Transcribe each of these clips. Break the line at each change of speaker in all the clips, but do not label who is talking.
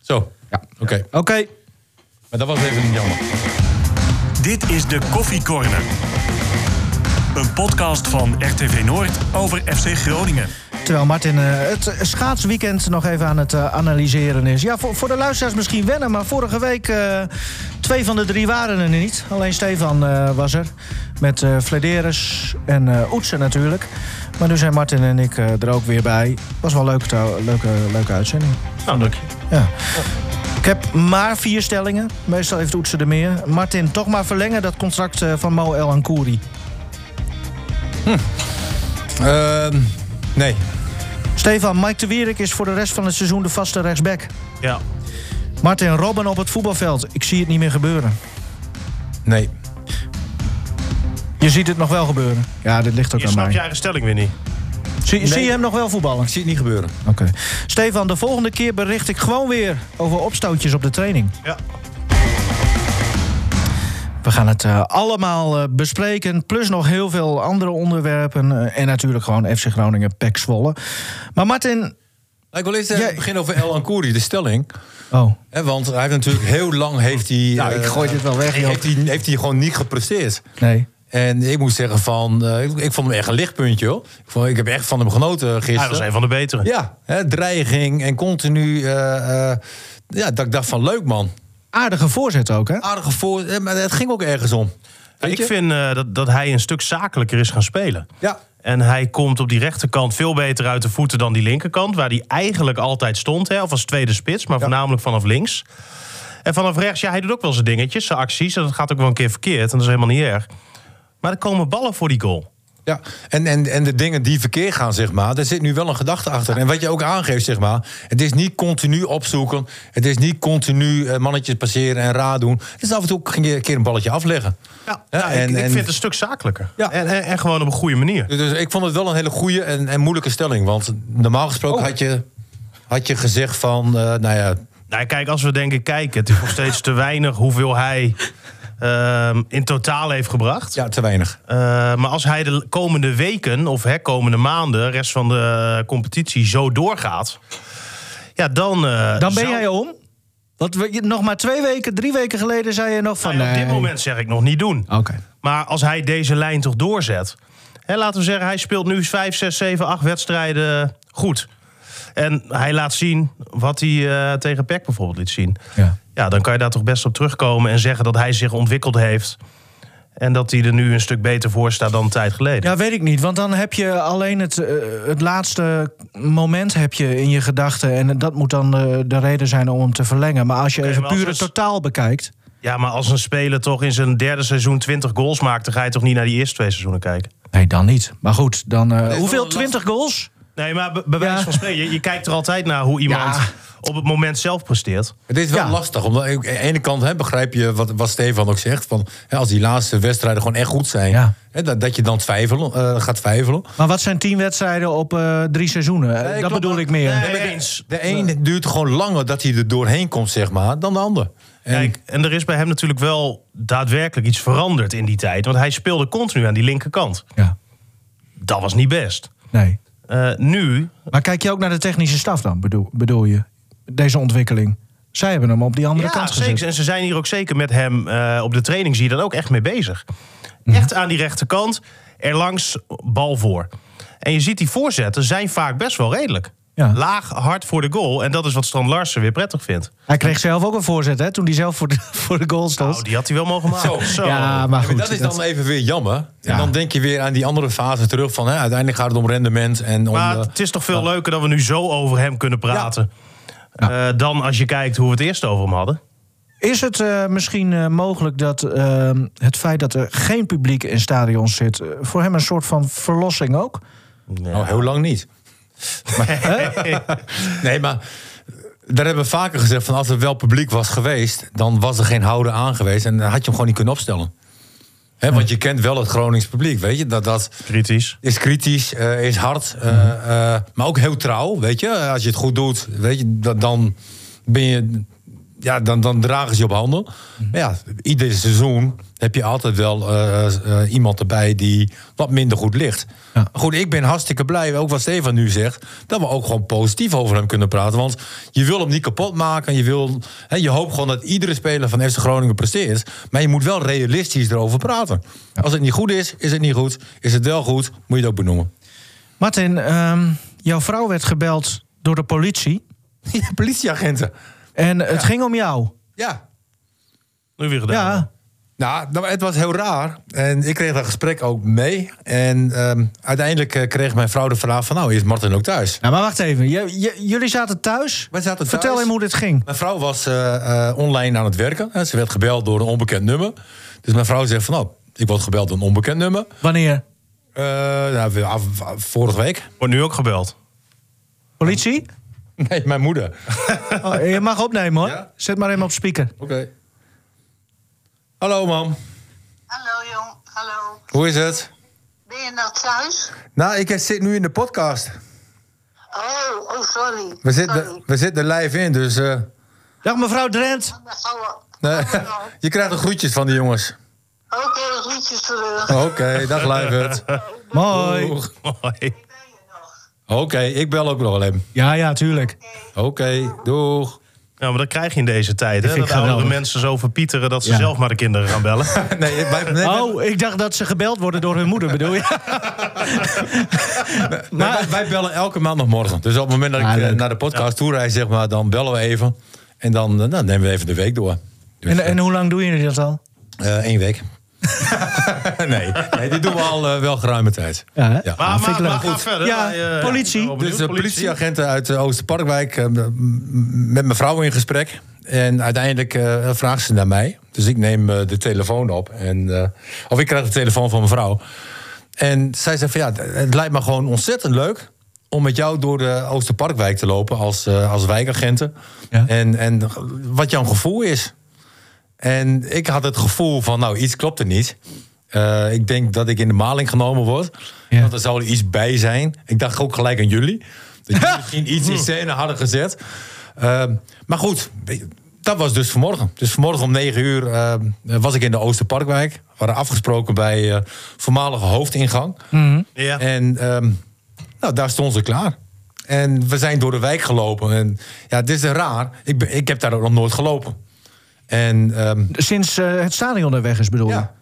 Zo.
Ja.
Oké.
Oké.
Maar dat was even jammer.
Dit is de Koffie Corner. Een podcast van RTV Noord over FC Groningen.
Terwijl Martin eh, het schaatsweekend nog even aan het eh, analyseren is. Ja, voor, voor de luisteraars misschien wennen, maar vorige week... eh, twee van de drie waren er niet. Alleen Stefan eh, was er. Met eh Flederis en eh Oetsen natuurlijk. Maar nu zijn Martin en ik eh, er ook weer bij. Was wel een leuke, trouw- leuke, leuke uitzending.
Nou, dank je.
Ja. Ik heb maar vier stellingen. Meestal heeft Oetsen er meer. Martin, toch maar verlengen dat contract eh, van Mo El Ankouri.
Ehm, nee.
Stefan, Mike de Wierik is voor de rest van het seizoen de vaste rechtsback.
Ja.
Martin Robben op het voetbalveld. Ik zie het niet meer gebeuren.
Nee.
Je ziet het nog wel gebeuren. Ja, dit ligt ook
Je
aan
snapt
mij.
je eigen stelling weer niet.
Zie, zie je hem nog wel voetballen?
Ik zie het niet gebeuren.
Oké. Stefan, de volgende keer bericht ik gewoon weer over opstootjes op de training.
Ja.
We gaan het eh, allemaal eh, bespreken. Plus nog heel veel andere onderwerpen. eh, en natuurlijk gewoon FC Groningen, PEC Zwolle. Maar Martin...
Ik wil eerst even
Jij-
eh, beginnen over El Ankouri, de stelling.
Oh,
Hè, want hij heeft natuurlijk heel lang heeft hij.
nou, ik
eh,
gooi dit wel weg, joh.
heeft, hij, heeft hij gewoon niet gepresteerd.
Nee.
En ik moet zeggen van, eh, ik, ik vond hem echt een lichtpuntje hoor. Ik, vond, ik heb echt van hem genoten
Hij was
gisteren.
een van de betere.
ja, hè, dreiging en continu. eh, eh, ja, dat ik dacht van leuk man.
Aardige voorzet ook,
Ah,
hè?
Aardige voor, eh, maar het ging ook ergens om. Weet
Ik
je?
vind eh, dat, dat hij een stuk zakelijker is gaan spelen.
Ja.
En hij komt op die rechterkant veel beter uit de voeten dan die linkerkant. Waar hij eigenlijk altijd stond. Hè, of als tweede spits, maar voornamelijk vanaf links. En vanaf rechts, ja, hij doet ook wel zijn dingetjes, zijn acties. En dat gaat ook wel een keer verkeerd. En dat is helemaal niet erg. Maar er komen ballen voor die goal.
Ja, en, en, en de dingen die verkeerd gaan, zeg maar, daar zit nu wel een gedachte achter. En wat je ook aangeeft, zeg maar, het is niet continu opzoeken. Het is niet continu eh, mannetjes passeren en raar doen. Het is af en toe ook een keer een balletje afleggen.
Ja,
Hè,
nou, ik, ik vind het een stuk zakelijker.
Ja.
En, en, en gewoon op een goede manier.
Dus ik vond het wel een hele goede en, en moeilijke stelling. Want normaal gesproken
Oh.
had, je, had je gezegd van, eh, nou ja,
Nou, kijk, als we denken, kijk, het is nog steeds te weinig hoeveel hij ehm, in totaal heeft gebracht.
ja, te weinig.
Eh, maar als hij de komende weken of hè, komende maanden, rest van de eh, competitie, zo doorgaat. Ja, dan. eh,
Dan ben
zou-
jij om. Want we, je- nog maar twee weken, drie weken geleden zei je nog van... eh,
Nou ja, op dit
nee.
moment zeg ik nog niet doen.
Oké.
Maar als hij deze lijn toch doorzet. Hè, laten we zeggen, hij speelt nu 5, 6, 7, 8 wedstrijden goed. En hij laat zien wat hij eh, tegen PEC bijvoorbeeld liet zien.
Ja.
Ja, dan kan je daar toch best op terugkomen en zeggen dat hij zich ontwikkeld heeft. En dat hij er nu een stuk beter voor staat dan een tijd geleden.
ja, weet ik niet. Want dan heb je alleen het, eh, het laatste moment heb je in je gedachten. En dat moet dan eh, de reden zijn om hem te verlengen. Maar als je
Oké,
even
maar als
puur het
het-
totaal bekijkt...
Ja, maar als een speler toch in zijn derde seizoen 20 goals maakt, dan ga je toch niet naar die eerste twee seizoenen kijken.
Nee, dan niet. Maar goed, dan... eh,
wel
hoeveel?
een lastig-
20 goals?
Nee, maar be- bij
Ja.
wijze van spreken, je, je kijkt er altijd naar hoe iemand
Ja.
op het moment zelf presteert.
Het is wel
Ja.
lastig. Omdat, ik- aan de ene kant hè, begrijp je wat, wat Stefan ook zegt. Van, hè, als die laatste wedstrijden gewoon echt goed zijn.
Ja.
Hè, dat, dat je dan twijfelen, eh, gaat twijfelen.
Maar wat zijn 10 wedstrijden op eh, drie seizoenen? Eh, dat
klopt,
bedoel
maar-
ik meer.
Nee,
maar de-
eens.
De een duurt gewoon langer dat hij er doorheen komt, zeg maar, dan de ander. En
Kijk, en er is bij hem natuurlijk wel daadwerkelijk iets veranderd in die tijd. Want hij speelde continu aan die linkerkant.
Ja.
Dat was niet best.
Nee.
Eh, nu,
Maar kijk je ook naar de technische staf dan, bedoel, bedoel je? Deze ontwikkeling. Zij hebben hem op die andere
ja,
kant gezet.
zeker. En ze zijn hier ook zeker met hem eh, op de training, zie je dat ook echt mee bezig.
Mhm.
Echt aan die rechterkant, erlangs bal voor. En je ziet die voorzetten zijn vaak best wel redelijk.
Ja.
Laag, hard voor de goal. En dat is wat Strand Larsen weer prettig vindt.
Hij kreeg zelf ook een voorzet, hè? Toen hij zelf voor de, voor de goal stond.
Nou, die had hij wel mogen maken.
Zo.
Zo.
ja, maar
Ja, maar
goed.
dat is dan even weer jammer.
Ja.
En dan denk je weer aan die andere fase terug van hè, uiteindelijk gaat het om rendement en om.
Maar
eh,
het is toch veel leuker dat we nu zo over hem kunnen praten. Eh, dan als je kijkt hoe we het eerst over hem hadden.
Is het eh, misschien eh, mogelijk dat eh, het feit dat er geen publiek in stadions zit... eh, voor hem een soort van verlossing ook?
nou, heel lang niet. Maar, nee, maar eh, daar hebben we vaker gezegd van als er wel publiek was geweest, dan was er geen houden aan geweest en dan had je hem gewoon niet kunnen opstellen. Hè, want je kent wel het Gronings publiek, weet je? Dat, dat,
Kritisch.
is kritisch, eh, is hard, eh, eh, maar ook heel trouw. Weet je, als je het goed doet, weet je, dat, dan ben je ja, dan, dan dragen ze je op handen. Maar ja, ieder seizoen heb je altijd wel eh, eh, iemand erbij die wat minder goed ligt.
Ja.
Goed, ik ben hartstikke blij, ook wat Stefan nu zegt... dat we ook gewoon positief over hem kunnen praten. Want je wil hem niet kapot maken. Je, wil, hè, je hoopt gewoon dat iedere speler van FC Groningen presteert. Maar je moet wel realistisch erover praten. Als het niet goed is, is het niet goed. Is het wel goed, moet je het ook benoemen.
Martin, ehm, jouw vrouw werd gebeld door de politie.
Ja, politieagenten.
En het ging om jou.
Ja,
Nu weer gedaan.
Ja.
Nou, nou, het was heel raar. En ik kreeg dat gesprek ook mee. En ehm, uiteindelijk eh, kreeg mijn vrouw de vraag van... nou, is Martin ook thuis?
Nou, maar wacht even. J- j- jullie zaten thuis.
Wij zaten
Vertel
thuis.
hem hoe dit ging.
Mijn vrouw was eh, eh, online aan het werken. Hè. Ze werd gebeld door een onbekend nummer. Dus mijn vrouw zegt van... nou, ik word gebeld door een onbekend nummer.
Wanneer?
Eh, nou, we- af- af- vorige week.
Wordt nu ook gebeld.
Politie?
Nee, mijn moeder.
Oh, je mag opnemen hoor.
Ja?
Zet maar even op speaker.
Oké. Hallo, mam.
Hallo jong, hallo.
Hoe is het?
Ben je nou thuis?
Nou, ik zit nu in de podcast.
Oh, oh sorry.
We
Sorry.
zitten, we zitten live in, dus... eh,
Dag mevrouw Drent.
Dat zal wel.
nee.
Hallo.
je krijgt de groetjes van de jongens.
Oké, groetjes terug.
Oké, dag Luivert.
Mooi.
Doeg.
Mooi.
Ik ben je nog.
Oké, ik bel ook nog wel even.
Ja, ja, tuurlijk.
Oké, doeg.
Ja, maar dat krijg je in deze tijd. Hè?
vind ik
Dat oudere
geweldig.
mensen zo verpieteren dat ze
Ja.
zelf maar de kinderen gaan bellen.
Nee, wij, nee, wij-
Oh, ik dacht dat ze gebeld worden door hun moeder, bedoel je?
nee, wij, wij bellen elke maandagmorgen. Dus op het moment dat ik
Ah,
eh,
leuk.
naar de podcast toe rijd, zeg maar, dan bellen we even. En dan, eh, nou, nemen we even de week door. Dus,
En, en hoe lang doen jullie dat al?
eh, één week. nee, nee, dit doen we al eh, wel geruime tijd.
Ja, hè?
Maar, maar,
vind ik leuk.
maar ga
Goed.
verder.
Ja,
Wij, eh,
politie.
zijn wel
Dus
benieuwd.
de politieagenten uit eh, Oosterparkwijk eh, m- m- met mijn vrouw in gesprek. En uiteindelijk eh, vraagt ze naar mij. Dus ik neem eh, de telefoon op. En, eh, of ik krijg de telefoon van mijn vrouw. En zij zegt van ja, het lijkt me gewoon ontzettend leuk... om met jou door de Oosterparkwijk te lopen als, eh, als wijkagenten.
Ja.
En, en wat jouw gevoel is. En ik had het gevoel van, nou, iets klopt er niet. Eh, ik denk dat ik in de maling genomen word.
Ja.
Want er zou er iets bij zijn. Ik dacht ook gelijk aan jullie. Dat jullie misschien iets in scène hadden gezet. Eh, maar goed, dat was dus vanmorgen. Dus vanmorgen om 9 uur eh, was ik in de Oosterparkwijk. We waren afgesproken bij eh, voormalige hoofdingang.
Ja.
En ehm, nou, daar stonden ze klaar. En we zijn door de wijk gelopen. En ja, het is raar. Ik, ben, ik heb daar ook nog nooit gelopen. En ehm,
Sinds eh, het stadion er weg is, bedoel je? Nou,
ja.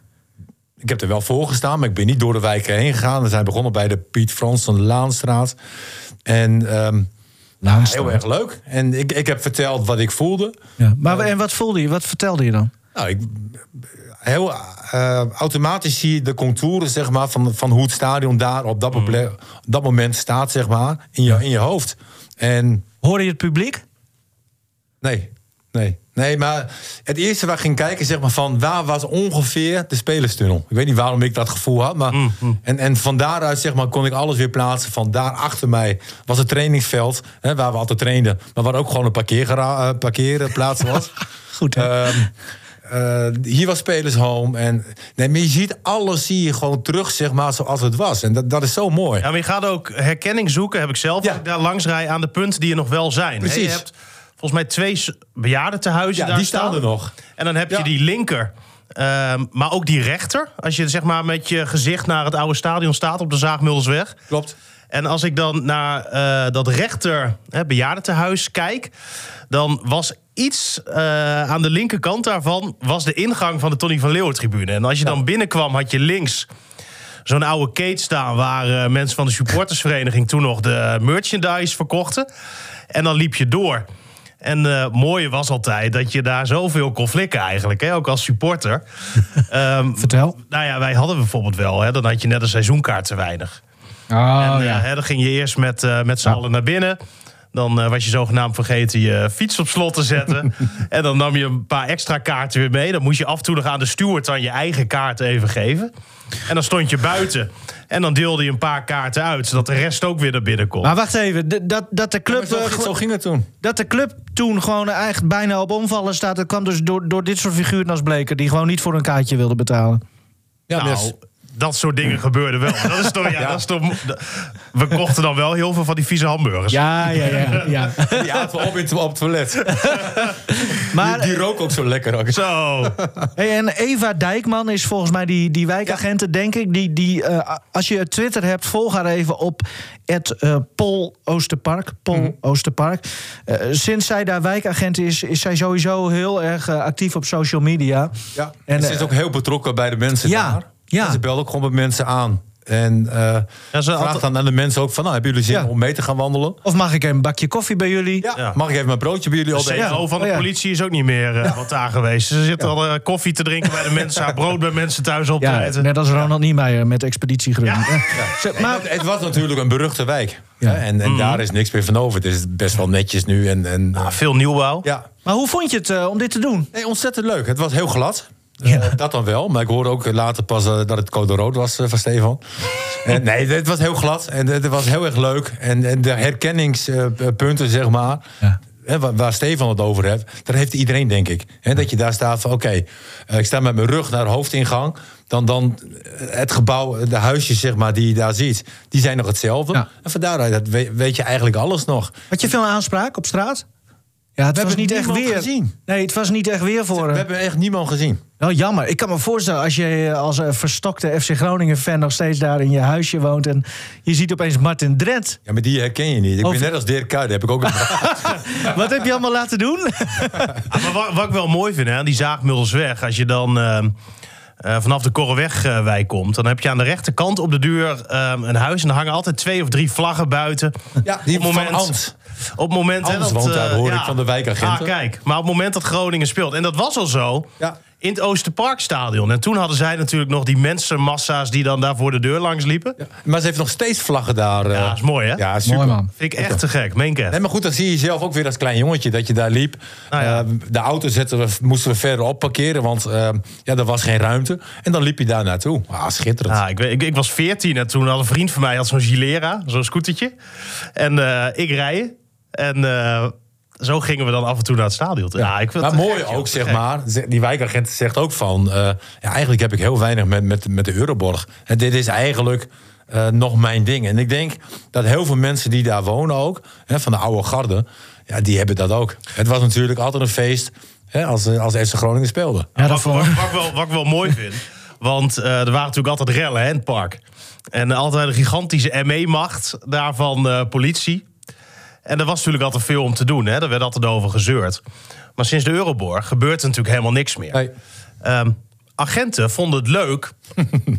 Ik heb er wel voor gestaan, maar ik ben niet door de wijken heen gegaan. We zijn begonnen bij de Piet Fransen Laanstraat. En ehm,
Laatste.
heel erg leuk. En ik, ik heb verteld wat ik voelde.
Ja. Maar en wat voelde je? Wat vertelde je dan?
Nou, ik, heel eh, automatisch zie je de contouren zeg maar, van, van hoe het stadion daar op dat, mople- op dat moment staat zeg maar, in, je, in je hoofd. En
Hoorde je het publiek?
nee, nee. Nee, maar het eerste waar ik ging kijken, zeg maar, van waar was ongeveer de spelerstunnel? Ik weet niet waarom ik dat gevoel had, maar. En, en van daaruit, zeg maar, kon ik alles weer plaatsen. Van daar achter mij was het trainingsveld, hè, waar we altijd trainden, maar waar ook gewoon een parkeergara- eh, parkeerplaats was.
Goed, hè?
Ehm, eh, hier was Spelers Home. En, nee, maar je ziet alles zie je gewoon terug, zeg maar, zoals het was. En dat, dat is zo mooi.
Ja, maar je gaat ook herkenning zoeken, heb ik zelf.
Ja.
als ik Daar langs rij aan de punten die er nog wel zijn. Hè, Je
Precies.
hebt volgens mij twee s- bejaardentehuizen
Ja,
daar
die staan er nog.
En dan heb je
Ja.
die linker. ehm, maar ook die rechter. Als je zeg maar met je gezicht naar het oude stadion staat op de Zaagmuldersweg.
Klopt.
En als ik dan naar eh, dat rechter hè, bejaardentehuis kijk, dan was iets eh, aan de linkerkant daarvan was de ingang van de Tony van Leeuwen tribune. En als je dan binnenkwam, had je links zo'n oude keet staan waar eh, mensen van de supportersvereniging toen nog de merchandise verkochten. En dan liep je door. En eh het mooie was altijd dat je daar zoveel kon flikken eigenlijk, hè, ook als supporter. Ehm,
Vertel.
nou ja, wij hadden bijvoorbeeld wel, hè, dan had je net een seizoenkaart te weinig.
Oh,
En, eh, hè, dan ging je eerst met, eh, met z'n allen naar binnen. Dan eh, was je zogenaamd vergeten je fiets op slot te zetten. en dan nam je een paar extra kaarten weer mee. Dan moest je af en toe nog aan de steward dan je eigen kaart even geven. En dan stond je buiten. En dan deelde je een paar kaarten uit, zodat de rest ook weer naar binnen kon.
Maar wacht even, d- dat, dat, de club,
Maar zo,
eh,
ging-
gl-
zo ging het toen.
dat de club toen gewoon eigenlijk bijna op omvallen staat... dat kwam dus door, door dit soort figuren als Bleker... die gewoon niet voor een kaartje wilden betalen.
Ja,
nou,
dus-
dat soort dingen gebeurden wel. Dat is toch, ja, Dat is toch, we kochten dan wel heel veel van die vieze hamburgers.
Ja, ja, ja. ja.
die aten we op, in, op het toilet.
Maar-
die, die rook ook eh, zo lekker. ook.
Zo.
Hey, en Eva Dijkman is volgens mij die, die wijkagenten, denk ik. Die, die, eh, als je Twitter hebt, volg haar even op het eh, Pol Oosterpark. Pol
Mhm.
Oosterpark. Eh, sinds zij daar wijkagent is, is zij sowieso heel erg eh, actief op social media.
Ja.
En,
En ze
eh,
is ook heel betrokken bij de mensen
ja,
daar.
ja.
En ze belt ook gewoon met mensen aan. En eh
Ja, ze
vraagt
altijd-
dan aan de mensen ook van... Nou, hebben jullie zin
Ja.
om mee te gaan wandelen?
Of mag ik een bakje koffie bij jullie?
Ja.
Ja.
Mag ik even mijn broodje bij jullie
De
opeten?
CEO van de
Oh ja.
politie is ook niet meer eh, wat daar geweest. Ze zitten al eh, koffie te drinken bij de mensen, haar brood bij mensen thuis op te
Ja,
eten.
net als Ronald Niemeyer met Expeditie Groen. Zeg,
Maar
Maar,
het, het was natuurlijk een beruchte wijk. hè, En, en
Mhm.
daar is niks meer van over. Het is best wel netjes nu. En, en, eh,
Ah, Veel nieuwbouw.
ja.
maar hoe vond je het eh, om dit te doen?
Nee, ontzettend leuk. Het was heel glad. Eh, dat dan wel. Maar ik hoorde ook later pas eh, dat het code rood was eh, van Stefan. en, nee, het was heel glad. En het was heel erg leuk. En, en de herkenningspunten, zeg maar... hè, waar, waar Stefan het over heeft, daar heeft iedereen, denk ik. Hè, dat je daar staat van, oké, eh, ik sta met mijn rug naar de hoofdingang. Dan, dan eh, het gebouw, de huisjes, zeg maar, die je daar ziet... die zijn nog hetzelfde.
Ja.
En van daaruit dat we- weet je eigenlijk alles nog.
Had je veel aanspraak op straat? Ja, het was
hebben
niet echt
niemand
weer.
gezien.
Nee, het was niet echt weer voor.
We
eh,
hebben echt niemand gezien.
Wel jammer. Ik kan me voorstellen als je eh, als een verstokte FC Groningen-fan nog steeds daar in je huisje woont en je ziet opeens Martin Drent.
Ja, maar die herken je niet. Ik
Over-
ben net als Dirk Kuyt, heb ik ook een...
Wat heb je allemaal laten doen?
Ah, maar wat, wat ik wel mooi vind, hè, die zaagmuddels weg. Als je dan ehm, eh, vanaf de Korrewegwijk komt, dan heb je aan de rechterkant op de duur ehm, een huis. En er hangen altijd twee of drie vlaggen buiten.
Ja, die
Op het
van Ant.
Op het moment hè,
Ant
dat,
woont daar,
eh,
hoor ik van de wijkagenten.
Ah, kijk. Maar op het moment dat Groningen speelt. En dat was al zo.
Ja.
In het Oosterparkstadion. En toen hadden zij natuurlijk nog die mensenmassa's die dan daar voor de deur langs liepen.
Maar ze heeft nog steeds vlaggen daar. eh.
Ja, dat is mooi, hè?
Ja, super.
Mooi, man.
Vind ik echt te gek. Meen ik echt.
Nee, maar goed, dan zie je jezelf ook weer als klein jongetje dat je daar liep.
Nou ja.
Eh, de auto zetten we, moesten we verderop parkeren, want eh, ja, er was geen ruimte. En dan liep je daar naartoe. Ah, schitterend.
Ah, ik, weet- ik, ik was 14 en toen had een vriend van mij had zo'n Gilera, zo'n scootertje. En eh, ik rijden. En eh, zo gingen we dan af en toe naar het stadion. Ja, ik vind
maar
het te
mooi
gek, joh,
ook,
te
zeg
gek.
maar. Ze- Die wijkagent zegt ook van... eh, ja, eigenlijk heb ik heel weinig met, met, met de Euroborg. En dit is eigenlijk eh, nog mijn ding. En ik denk dat heel veel mensen die daar wonen ook... Hè, van de oude garde, ja, die hebben dat ook. Het was natuurlijk altijd een feest hè, als, eh, als FC Groningen speelde.
Ja,
Wat, wat, wat ik wel, wat ik wel mooi vind. Want eh, er waren natuurlijk altijd rellen hè, in het park. En altijd een gigantische ME-macht daarvan eh, politie. En er was natuurlijk altijd veel om te doen. Hè. Daar werd altijd over gezeurd. Maar sinds de Euroborg gebeurt er natuurlijk helemaal niks meer.
Nee.
Ehm, agenten vonden het leuk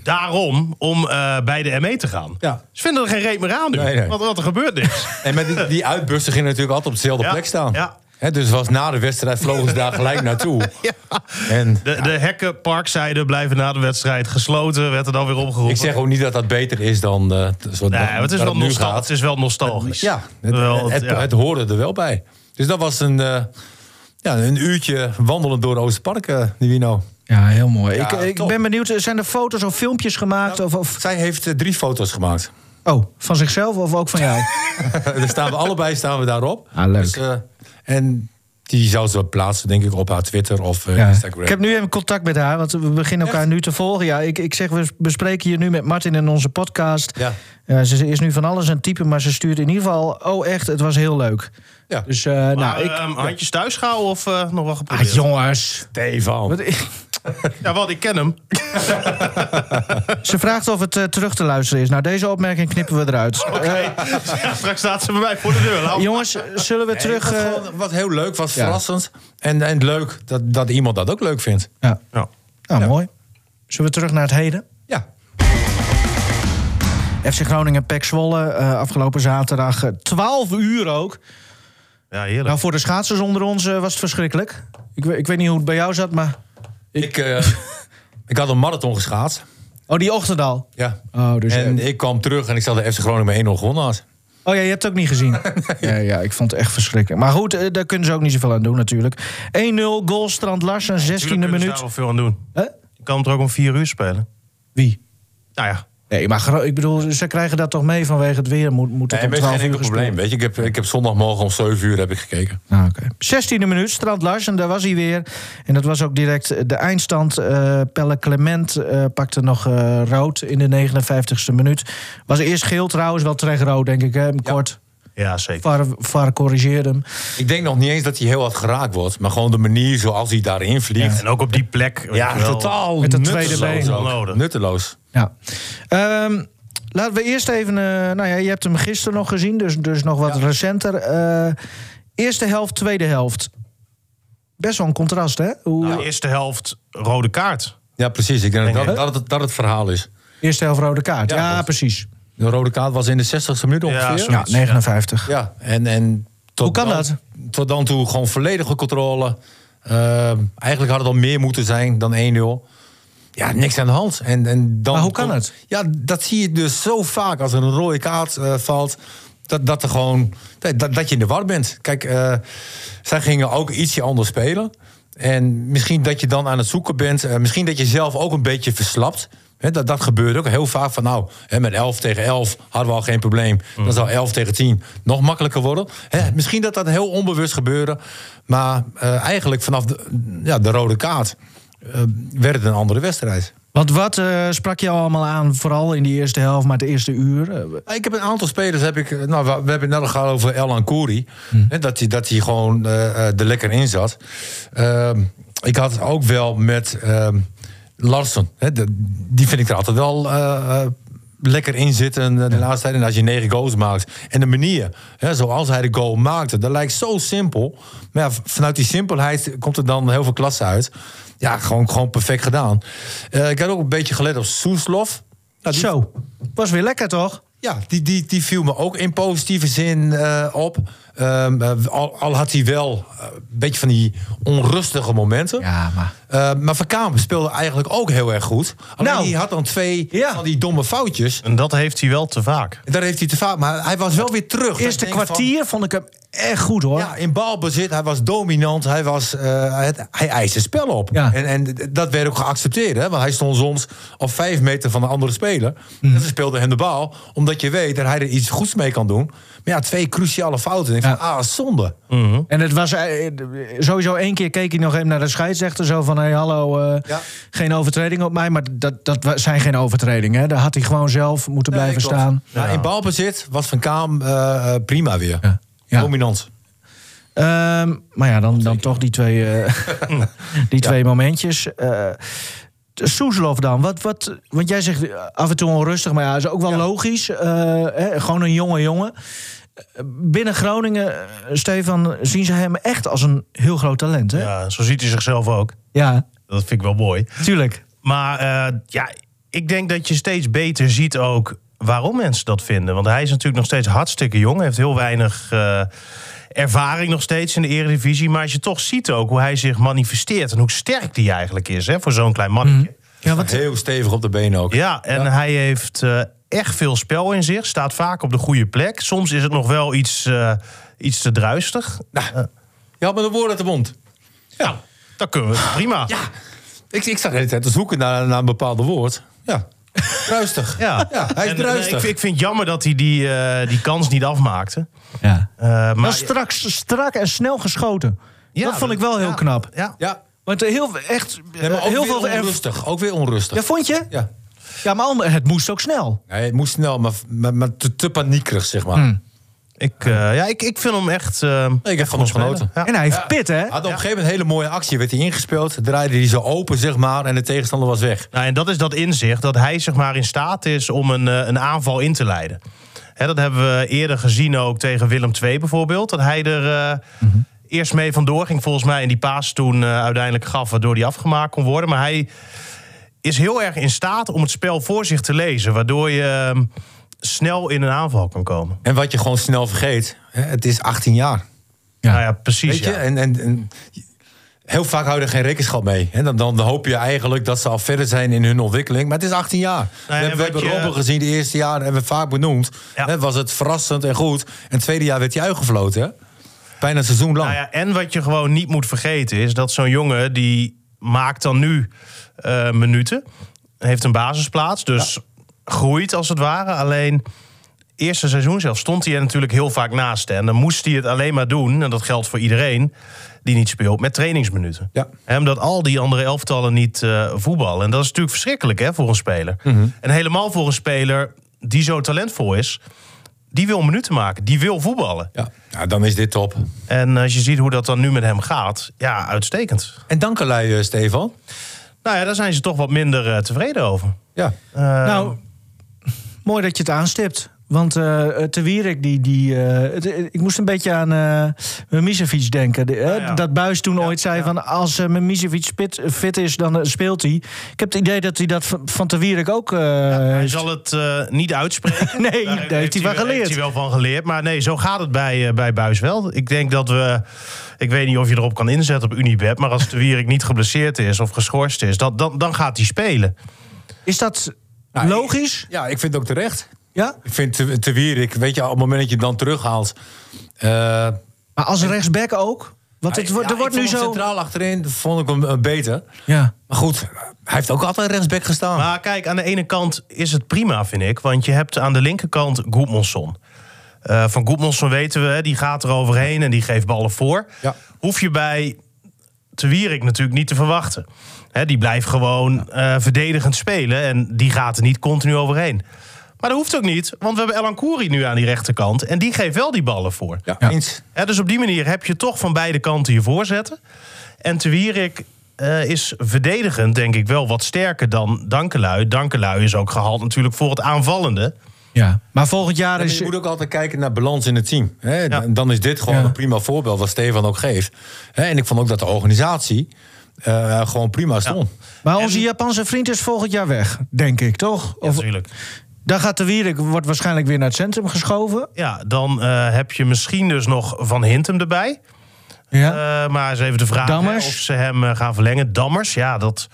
daarom om eh, bij de ME te gaan.
Ja.
Ze vinden er geen reet meer aan nu.
Nee, nee.
Want, want er gebeurt niks.
En met die, die uitbussen gingen natuurlijk altijd op dezelfde
Ja,
plek staan.
ja.
Hè, dus was na de wedstrijd vlogen ze daar gelijk naartoe. En
De, de hekken, parkzijde blijven na de wedstrijd gesloten. Werd er dan weer opgeroepen.
ik zeg ook niet dat dat beter is dan... eh zo-
Nee, maar het, is
waar
wel
nu
nostal-
gaat.
het is wel nostalgisch.
Ja, het,
Wel,
het,
ja.
het hoorde er wel bij. Dus dat was een, eh, ja, een uurtje wandelen door Oosterpark, eh Nivino.
Ja, heel mooi.
Ja,
ik ik
top.
ben benieuwd, eh, zijn er foto's of filmpjes gemaakt? of, of,
Zij heeft eh, drie foto's gemaakt.
oh, van zichzelf of ook van jou?
Daar staan we allebei staan we daarop.
Ah, leuk.
eh, en die zou ze wel plaatsen, denk ik, op haar Twitter of eh,
Ja.
Instagram.
Ik heb nu even contact met haar, want we beginnen elkaar nu te volgen. Ja, ik, ik zeg, we bespreken hier nu met Martin in onze podcast.
Ja.
Ja, ze, ze is nu van alles aan het typen, maar ze stuurt in ieder geval... oh echt, het was heel leuk.
Ja.
Dus eh,
Maar,
nou, ik...
ehm, handjes thuis gehouden of eh, nog wel
Ah,
geprobeerd?
jongens.
Stefan.
Ja, want ik ken hem.
Ze vraagt of het eh, terug te luisteren is. Nou, deze opmerking knippen we eruit.
Oké. Ja, straks staat ze bij mij voor de deur. Laat-
Jongens, zullen we terug...
Wat,
eh,
gewoon- wat heel leuk, was
ja.
verrassend. En, en leuk dat, dat iemand dat ook leuk vindt.
ja.
Nou,
Nou, mooi. Zullen we terug naar het heden?
Ja.
FC Groningen, PEC Zwolle, eh, afgelopen zaterdag eh, 12 uur ook.
ja, heerlijk.
Nou, voor de schaatsers onder ons eh, was het verschrikkelijk. Ik, we- ik weet niet hoe het bij jou zat, maar...
Ik, eh, ik had een marathon geschaatst.
Oh, die ochtend al.
Ja.
Oh, dus
en
jij-
ik kwam terug en ik zat de FC Groningen met 1-0 gewonnen had.
Oh ja, je hebt het ook niet gezien. ja, ja, ik vond het echt verschrikkelijk. Maar goed, eh, daar kunnen ze ook niet zoveel aan doen natuurlijk. 1-0, goal Strand Larsen, 16e
Natuurlijk kunnen ze
minuut.
daar wel veel aan doen.
Hè?
Je kan hem er ook om vier uur spelen.
Wie?
Nou ja,
Nee, maar gro- ik bedoel, ze krijgen dat toch mee vanwege het weer. Moet, moet het
Nee, maar
om
het is
12
geen
uur
enkel probleem.
gespeeld.
Weet je, ik heb, ik heb zondagmorgen om 7 uur heb ik gekeken.
Ah, oké. 16e minuut, Strand Larsen, daar was hij weer. En dat was ook direct de eindstand. Eh, Pelle Clement eh, pakte nog eh, rood in de 59e minuut. Was eerst geel trouwens, wel terecht rood denk ik, hè? Kort.
Ja, zeker.
VAR, VAR corrigeerde hem.
Ik denk nog niet eens dat hij heel hard geraakt wordt. Maar gewoon de manier zoals hij daarin vliegt.
En ook op die plek. weet
Ja,
je wel.
totaal
Met dat tweede
nutteloos.
been.
ook.
Onnodig.
Nutteloos.
Ja. Ehm, laten we eerst even... eh, nou ja, je hebt hem gisteren nog gezien, dus, dus nog wat recenter. Eh, eerste helft, tweede helft. Best wel een contrast, hè? Hoe,
Nou, eerste helft rode kaart.
Ja, precies. Ik denk
Denk
dat,
ik,
dat, het, dat het verhaal is.
Eerste helft rode kaart.
Ja,
Ja,
klopt.
precies.
De rode kaart was in de 60ste minuut
Ja,
ongeveer.
zo.
Ja, 59.
Ja, en, en tot
Hoe kan
dan,
dat?
Tot dan toe gewoon volledige controle. Ehm, eigenlijk had het al meer moeten zijn dan 1-0. Ja, niks aan de hand. En, en dan
Maar hoe kan
komt-
het?
Ja, dat zie je dus zo vaak als er een rode kaart eh, valt. Dat, dat, er gewoon, dat, dat- dat je in de war bent. Kijk, eh, zij gingen ook ietsje anders spelen. En misschien dat je dan aan het zoeken bent. eh, misschien dat je zelf ook een beetje verslapt. Hè, dat, dat gebeurt ook heel vaak. Van nou, hè, met 11 tegen 11 hadden we al geen probleem. Dan zou 11 tegen 10 nog makkelijker worden. Hè, misschien dat dat heel onbewust gebeurde. Maar eh, eigenlijk vanaf de, ja, de rode kaart eh, werd het een andere wedstrijd.
Want wat eh, sprak je allemaal aan, vooral in de eerste helft, maar het eerste uur? Eh,
Ja, Ik heb een aantal spelers. Heb ik, nou, we, we hebben het net al gehad over Elan Kouri. Hè, Dat hij dat hij gewoon eh, eh, er lekker in zat. Ehm, ik had het ook wel met ehm Larsen. Hè, de- die vind ik er altijd wel eh, eh, lekker in zitten eh, de laatste tijd. En als je negen goals maakt. En de manier hè, zoals hij de goal maakte. Dat lijkt zo simpel. Maar ja, v- vanuit die simpelheid komt er dan heel veel klasse uit. Ja, gewoon, gewoon perfect gedaan. Eh, ik had ook een beetje gelet op Soeslof. Nou, die-
Zo, was weer lekker toch?
ja, die, die, die viel me ook in positieve zin eh, op. Ehm, eh, al, al had hij wel eh, een beetje van die onrustige momenten.
Ja, maar...
Eh, maar Van Kamer speelde eigenlijk ook heel erg goed. Alleen
Nou.
die had dan twee
Ja.
van die domme foutjes.
En dat heeft hij wel te vaak.
Daar heeft hij te vaak. Maar hij was wel weer terug.
Eerste
Ik denk van-
kwartier vond ik hem echt goed hoor.
ja, in balbezit. Hij was dominant. Hij, was, eh, het, hij eiste spel op.
Ja.
En, en dat werd ook geaccepteerd. Hè? Want hij stond soms op vijf meter van de andere speler.
Mhm.
En ze speelden hem de bal. Omdat je weet dat hij er iets goeds mee kan doen. Maar ja, twee cruciale fouten. Ik
Ja. Mhm.
denk van, ah, zonde.
En het was eh, eh, sowieso één keer keek ik nog even naar de scheidsrechter. Zo van, hé hey, hallo, eh,
Ja.
geen overtreding op mij. Maar dat, dat wa- zijn geen overtredingen. Hè. Daar had hij gewoon zelf moeten blijven
Nee, klopt.
staan.
Ja, in balbezit was Van Kaam eh, eh, prima weer.
Ja. Ja.
Dominant.
Ehm, maar ja, dan, dan toch die twee, eh, die twee momentjes. Eh Soeslof dan, wat, wat, want jij zegt eh, af en toe onrustig, maar ja, is ook wel logisch. Eh, hè, gewoon een jonge jongen. Eh, Binnen Groningen, eh, Stefan, zien ze hem echt als een heel groot talent. Hè? Ja.
Ja, zo ziet hij zichzelf ook. Dat vind ik wel mooi.
tuurlijk.
Maar eh, ja, ik denk dat je steeds beter ziet ook waarom mensen dat vinden. Want hij is natuurlijk nog steeds hartstikke jong. Heeft heel weinig eh, ervaring nog steeds in de eredivisie. Maar als je toch ziet ook hoe hij zich manifesteert... en hoe sterk die eigenlijk is hè, voor zo'n klein mannetje.
Mhm.
Ja, wat,
Heel stevig op de benen ook.
Ja, en hij heeft eh, echt veel spel in zich. Staat vaak op de goede plek. Soms is het nog wel iets, eh, iets te druistig.
Nou, je had me de woorden uit de mond.
Ja, dat kunnen we. Prima.
Ja. Ik, ik zag de hele tijd te zoeken naar, naar een bepaald woord. Ja. Ruistig.
Ja.
hij is
En, eh,
druistig.
ik, vind- ik vind het jammer dat hij die, eh, die kans niet afmaakte.
ja.
Eh,
Maar
maar
Nou, straks strak en snel geschoten.
Ja,
dat vond ik wel heel
ja.
knap.
ja.
Ja.
Want eh, heel, echt, eh,
Nee, maar ook
heel
weer
veel... erv-
onrustig. Ook weer onrustig.
Ja,
Ja.
vond je? Ja, maar ander- het moest ook snel.
Nee, het moest snel, maar, maar, maar te, te paniekerig, zeg maar.
Hmm. Ik, eh, ja, ik, ik vind hem echt... eh,
Ik heb van ons genoten.
Ja.
En hij heeft pit, hè?
Had op een gegeven moment een hele mooie actie. Werd hij ingespeeld, draaide hij zo open, zeg maar. En de tegenstander was weg.
Nou, en dat is dat inzicht dat hij zeg maar in staat is om een, eh, een aanval in te leiden. Hè, dat hebben we eerder gezien ook tegen Willem II bijvoorbeeld. Dat hij er eh,
Mhm.
eerst mee vandoor ging volgens mij. En die paas toen eh, uiteindelijk gaf waardoor die afgemaakt kon worden. Maar hij is heel erg in staat om het spel voor zich te lezen. Waardoor je eh, snel in een aanval kan komen.
En wat je gewoon snel vergeet. Hè, het is 18 jaar.
Ja.
Nou ja, precies.
Weet je?
ja.
En, en, en heel vaak houden er geen rekenschap mee. hè. dan, dan hoop je eigenlijk dat ze al verder zijn in hun ontwikkeling. Maar het is 18 jaar. we
en
hebben, we
wat
hebben
je-
Robben gezien de eerste jaren. Hebben we vaak benoemd.
Ja.
Hè, was het verrassend en goed. En het tweede jaar werd hij uitgefloten. hè. Bijna een seizoen lang.
Nou ja, en wat je gewoon niet moet vergeten is dat zo'n jongen die maakt dan nu eh, minuten, heeft een basisplaats, dus groeit als het ware. Alleen eerste seizoen zelf stond hij er natuurlijk heel vaak naast. hè. En dan moest hij het alleen maar doen, en dat geldt voor iedereen die niet speelt, met trainingsminuten.
Ja.
Hè, omdat al die andere elftallen niet eh, voetballen. En dat is natuurlijk verschrikkelijk hè, voor een speler. En helemaal voor een speler die zo talentvol is Die wil minuten maken. Die wil voetballen.
Ja. ja, dan is dit top.
En als je ziet hoe dat dan nu met hem gaat, ja, uitstekend.
En dankelui, eh, Stefan.
Nou ja, daar zijn ze toch wat minder eh, tevreden over.
Ja.
nou, mooi dat je het aanstipt. Want eh Te Wierik, die, die, eh, het- ik moest een beetje aan eh Mimicevic denken. De- hè,
Ja, ja.
Dat Buis toen ooit zei
ja.
van als eh Mimicevic fit, fit is, dan eh, speelt hij. Ik heb het idee dat hij dat van, van Te Wierik ook... eh,
Hij
heeft.
zal het eh, niet uitspreken.
nee,
Daar
daar heeft hij van
Heeft
geleerd.
hij wel van geleerd. Maar nee, zo gaat het bij, eh, bij Buis wel. Ik denk dat we. Ik weet niet of je erop kan inzetten op Unibet. Maar als de Wierik niet geblesseerd is of geschorst is, dat, dan, dan gaat hij spelen.
Is dat
Nou, ik-
logisch?
ja, ik vind het ook terecht.
Ja?
Ik vind te, te Wierik, weet je, op het moment dat je hem dan terughaalt. eh,
Maar als rechtsback ook? Want het,
hij-
wordt
ja,
er wordt
ik
nu
vond hem
zo...
Centraal achterin vond ik hem eh, beter.
Ja.
Maar goed, hij heeft ook altijd rechtsback gestaan.
Maar kijk, aan de ene kant is het prima, vind ik. Want je hebt aan de linkerkant Goedmonson. Eh, van Goedmonson weten we, hè, die gaat er overheen en die geeft ballen voor.
Ja.
Hoef je bij Te Wierik natuurlijk niet te verwachten. Hè, die blijft gewoon eh, verdedigend spelen en die gaat er niet continu overheen. Maar dat hoeft ook niet, want we hebben Elan Kouri nu aan die rechterkant... en die geeft wel die ballen voor.
ja, eens.
Hè, dus op die manier heb je toch van beide kanten je voorzetten. En Te Wierik eh, is verdedigend, denk ik, wel wat sterker dan Dankelui. Dankelui is ook gehaald natuurlijk voor het aanvallende.
ja. Maar volgend jaar
Ja, maar
is...
je moet ook altijd kijken naar balans in het team. Hè?
Ja.
Dan is dit gewoon
Ja.
een prima voorbeeld wat Stefan ook geeft. Hè? En ik vond ook dat de organisatie eh, gewoon prima stond.
Maar onze
En-
Japanse vriend is volgend jaar weg, denk ik, toch? Of,
Natuurlijk.
dan gaat de Wierik, wordt waarschijnlijk weer naar het centrum geschoven.
Ja, dan eh, heb je misschien dus nog Van Hintem erbij.
Ja.
Eh, maar eens even de vraag hè,
Dammers.
of ze hem eh, gaan verlengen. Dammers, ja, dat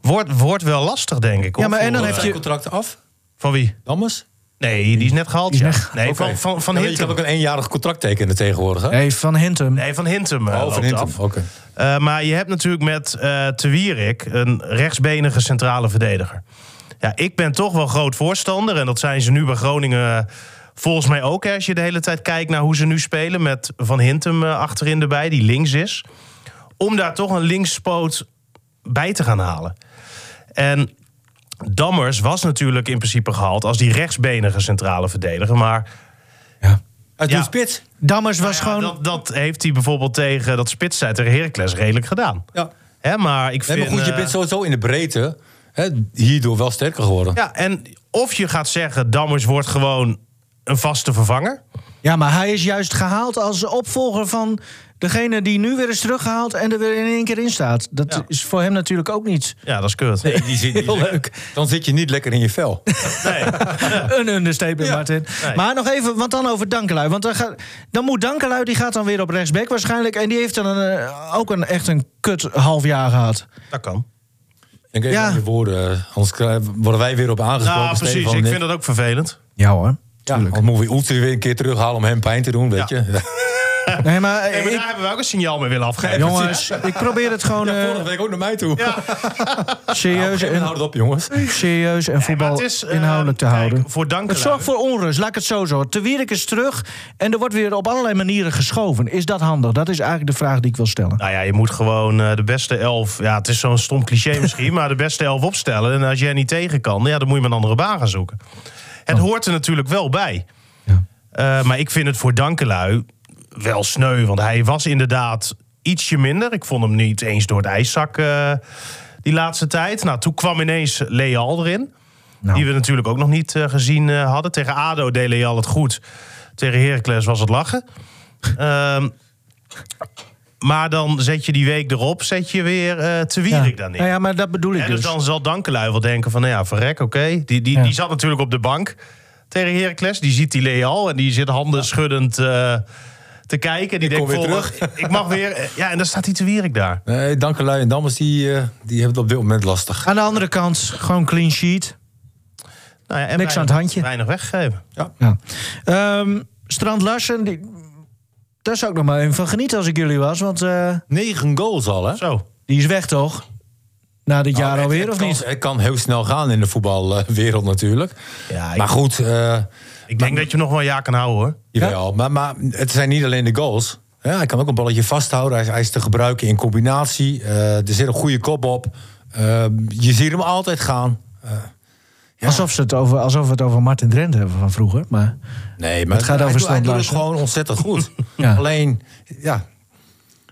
wordt, wordt wel lastig, denk ik. hoor,
Ja, maar en
voor,
dan
eh,
heb
Heeft
je-
je contract af,
Van wie?
Dammers?
Nee, die is net gehaald, ja. Nee,
Oké.
van, van, van
Ja, maar Je
Hintem.
kan ook een eenjarig contract tekenen tegenwoordig. Hè?
Nee, van Hintem.
Nee, van Hintem eh,
oh, van
loopt
Hintem.
af.
Oké.
Eh, maar je hebt natuurlijk met eh Te Wierik een rechtsbenige centrale verdediger. Ja, ik ben toch wel groot voorstander. En dat zijn ze nu bij Groningen eh, volgens mij ook. Hè, als je de hele tijd kijkt naar hoe ze nu spelen. Met Van Hintem eh, achterin erbij, die links is. Om daar toch een linkspoot bij te gaan halen. En Dammers was natuurlijk in principe gehaald als die rechtsbenige centrale verdediger. Maar
Hij
Ja.
doet spits.
Dammers was
nou ja,
gewoon...
dat, dat heeft hij bijvoorbeeld tegen dat spitstijd tegen Heracles redelijk gedaan.
Ja.
Hè, maar ik
Nee,
vind...
maar goed, je
eh,
bent sowieso in de breedte hè, hierdoor wel sterker geworden.
Ja, en of je gaat zeggen, Dammers wordt gewoon een vaste vervanger.
Ja, maar hij is juist gehaald als opvolger van degene die nu weer is teruggehaald en er weer in één keer in staat. Dat
Ja.
is voor hem natuurlijk ook niet
Ja, dat is kut.
Nee, die zit niet
heel
lekker.
leuk.
Dan zit je niet lekker in je vel.
Nee.
Een understatement, Martin.
Nee.
Maar nog even, want dan over Dankelui. Want dan, gaat, dan moet Dankelui, die gaat dan weer op rechtsback waarschijnlijk. En die heeft dan een, eh, ook een, echt een kut half jaar gehad.
Dat kan.
Denk even
Ja.
aan je woorden. eh, Anders krijgen- worden wij weer op aangesproken.
Nou, precies.
Stefan en
Ik
ik.
vind dat ook vervelend.
Ja hoor.
Ja, dan moeten we Oeltje weer een keer terughalen om hem pijn te doen, weet
Ja.
je.
Nee, maar, eh,
Nee, maar
ik-
daar hebben we ook een signaal mee willen afgeven.
jongens, ik probeer het gewoon eh,
Vorige week ook naar mij toe.
serieus,
En
en,
houd het op, jongens.
serieus en
maar het
voetbal
is, eh,
inhoudelijk te
kijk,
houden.
voor Dankelui-
Het zorgt voor onrust, laat ik het zo zo. Te Wierik is terug en er wordt weer op allerlei manieren geschoven. Is dat handig? Dat is eigenlijk de vraag die ik wil stellen.
Nou ja, je moet gewoon eh, de beste elf... Ja, het is zo'n stom cliché misschien, maar de beste elf opstellen. En als jij niet tegen kan, ja, dan moet je maar een andere baan gaan zoeken. Het hoort er natuurlijk wel bij. Eh, maar ik vind het voor Dankelui wel sneu. Want hij was inderdaad ietsje minder. Ik vond hem niet eens door het ijszak eh, die laatste tijd. Nou, toen kwam ineens Leal erin.
Nou.
Die we natuurlijk ook nog niet eh, gezien eh, hadden. Tegen ADO deed Leal het goed. Tegen Heracles was het lachen. Ehm, maar dan zet je die week erop, zet je weer eh te
Ja.
Wierik dan in.
Nou ja, maar dat bedoel ik
En dus
dus.
dan zal Dankelui wel denken van, nou ja, verrek, oké. Die, die,
Ja.
die zat natuurlijk op de bank tegen Heracles. Die ziet die Leal en die zit handen schuddend eh, te kijken. Die
Ik kom
denkt,
weer
vol, ik mag weer... Ja, en dan staat hij te wierik daar.
Nee, Dankelui en Dammers, die, eh, die hebben het op dit moment lastig.
Aan de andere kant, gewoon clean sheet.
Nou ja, en
Niks aan het handje.
Weinig weggeven.
Ja. Ehm, Strand Larsen, die, daar zou ik nog maar even van genieten als ik jullie was. Want eh,
Negen goals al, hè?
Zo.
die is weg toch? Na
Oh,
dit jaar
Nou, het-
alweer,
het
of
kan-
niet?
Het kan heel snel gaan in de voetbalwereld natuurlijk.
Ja, ik,
Maar goed, eh
ik denk dat je hem nog wel een jaar kan houden, hoor.
jawel. Maar, maar het zijn niet alleen de goals. Ja, hij kan ook een balletje vasthouden. Hij is, hij is te gebruiken in combinatie. Eh, er zit een goede kop op. Eh, je ziet hem altijd gaan. Eh,
Alsof, ze het over, alsof we het over Martin Drent hebben van vroeger. Maar
Nee, maar
Het gaat over
hij, doet- hij doet het
standluizen.
gewoon ontzettend goed.
Ja.
Alleen, ja.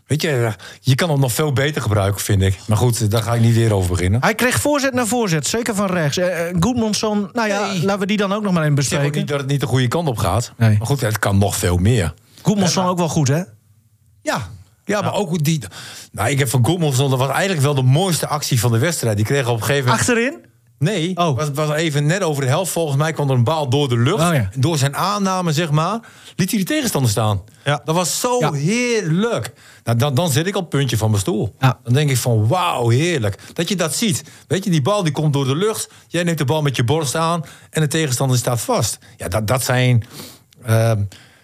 Weet je, je kan hem nog veel beter gebruiken, vind ik. Maar goed, daar ga ik niet weer over beginnen.
hij kreeg voorzet na voorzet, zeker van rechts. Eh eh, Goedmundsson, nou ja,
Nee.
laten we die dan ook nog maar even
Ik zeg ook
bespreken.
niet dat het niet de goede kant op gaat.
Nee.
Maar goed, het kan nog veel meer.
Goedmundsson ook wel goed, hè?
Ja. Ja, maar ook hoe die. Nou, ik heb van Goedmanson, dat was eigenlijk wel de mooiste actie van de wedstrijd. Die kreeg op een gegeven moment.
Achterin?
Nee,
Oh.
was, was even net over de helft. Volgens mij kwam er een bal door de lucht.
Oh ja.
En Door zijn aanname, zeg maar, liet hij de tegenstander staan.
Ja.
Dat was zo
Ja.
heerlijk. Nou, dan, dan zit ik op het puntje van mijn stoel.
Ja.
Dan denk ik van, wauw, heerlijk. Dat je dat ziet. Weet je, die bal die komt door de lucht. Jij neemt de bal met je borst aan en de tegenstander staat vast. Ja, dat, dat zijn... ehm,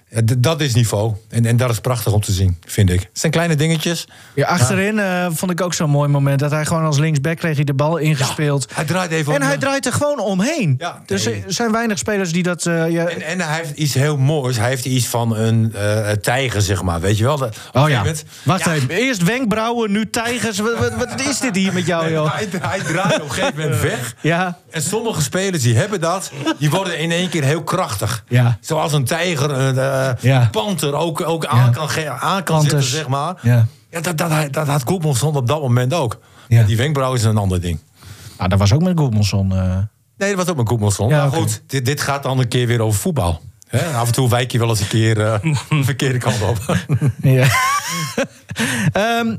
ja, d- dat is niveau. En, en dat is prachtig om te zien, vind ik. Het zijn kleine dingetjes.
Ja, achterin eh, vond ik ook zo'n mooi moment. Dat hij gewoon als linksback kreeg hij de bal ingespeeld.
Hij draait even
en
om,
hij
ja.
draait er gewoon omheen.
Ja,
dus
nee.
er zijn weinig spelers die dat... eh, ja,
En, en hij heeft iets heel moois. Hij heeft iets van een eh, tijger, zeg maar. Weet je wel? Dat- op een
oh
gegeven
ja,
moment-
wacht
Ja,
even. Eerst wenkbrauwen, nu tijgers. Wat, wat, wat is dit hier met jou, Oh, joh?
Hij, hij draait op een gegeven moment weg.
Ja,
En sommige spelers die hebben dat, die worden in één keer heel krachtig.
Ja.
Zoals een tijger, een eh,
Ja.
panter ook, ook aan kan, ge- aan kan
Panters.
zetten, zeg maar.
Ja.
Ja, dat, dat, hij- dat had Koepelson op dat moment ook.
Ja.
Maar Die wenkbrauw is een ander ding.
nou, dat was ook met Goedmundsson. eh.
Nee, dat was ook met Koepelson.
Ja,
maar
oké.
goed, dit, dit gaat dan een keer weer over voetbal. Hè, af en toe wijk je wel eens een keer eh, de verkeerde kant op.
Ja. Ehm,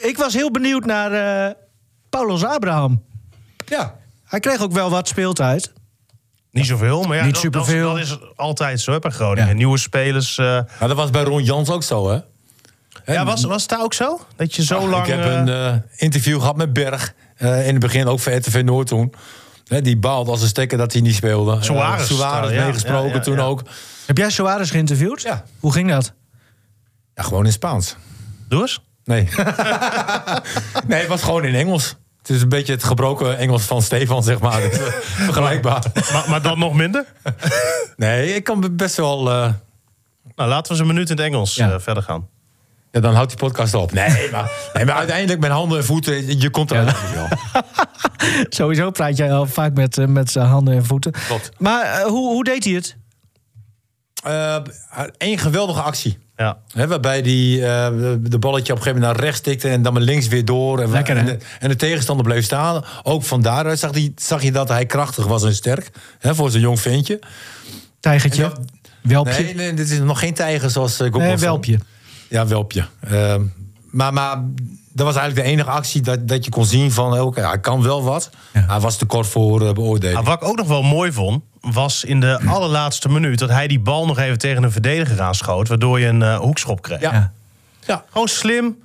ik was heel benieuwd naar eh Paulus Abraham.
ja.
Hij kreeg ook wel wat speeltijd.
Niet zoveel, maar ja,
Niet
dat- dat,
superveel.
Dat, is altijd zo hè, bij Groningen.
Ja.
Nieuwe spelers. eh,
Maar Nou, dat was bij Ron Jans ook zo, hè?
ja, was, was het daar ook zo? Dat je zo
Ah,
lang...
Ik heb
eh,
een eh, interview gehad met Berg. eh, in het begin ook voor RTV Noord toen. Hè, die baalde als een stekker dat hij niet speelde.
Suarez.
Eh, Suarez
Ja, ja,
meegesproken
ja, ja.
toen ook.
Heb jij Soares geïnterviewd?
Ja.
Hoe ging dat?
Ja, gewoon in Spaans.
Doe eens.
Nee. nee, het was gewoon in Engels. Het is een beetje het gebroken Engels van Stefan, zeg maar. Dat is, eh, Vergelijkbaar.
Maar, maar dan nog minder?
Nee, ik kan best wel... eh,
Nou, laten we eens een minuut in het Engels
Ja.
eh, verder gaan.
ja, dan houdt die podcast op. Nee, maar, nee, maar uiteindelijk met handen en voeten, je komt er wel.
Sowieso praat jij al vaak met, eh, met zijn handen en voeten.
Klopt.
Maar eh, hoe, hoe deed hij het?
Eén Eh, geweldige actie.
Ja.
Hè, waarbij die eh, de balletje op een gegeven moment naar rechts tikte en dan met links weer door. En,
Lekker, hè?
en, de, en de tegenstander bleef staan. Ook van daaruit zag, die, zag je dat hij krachtig was en sterk. Hè, voor zo'n jong ventje.
Tijgertje?
En dat-
Welpje?
Nee, nee, dit is nog geen tijger zoals uh,
Nee, welpje.
Ja, welpje. Ehm, maar, maar dat was eigenlijk de enige actie dat, dat je kon zien van... eh, oké, hij kan wel wat. Hij was te kort voor eh,
Maar
beoordeling.
Ah, wat ik ook nog wel mooi vond, was in de allerlaatste minuut... dat hij die bal nog even tegen een verdediger aanschoot... waardoor je een eh, hoekschop kreeg.
Ja.
Ja.
ja.
Gewoon slim.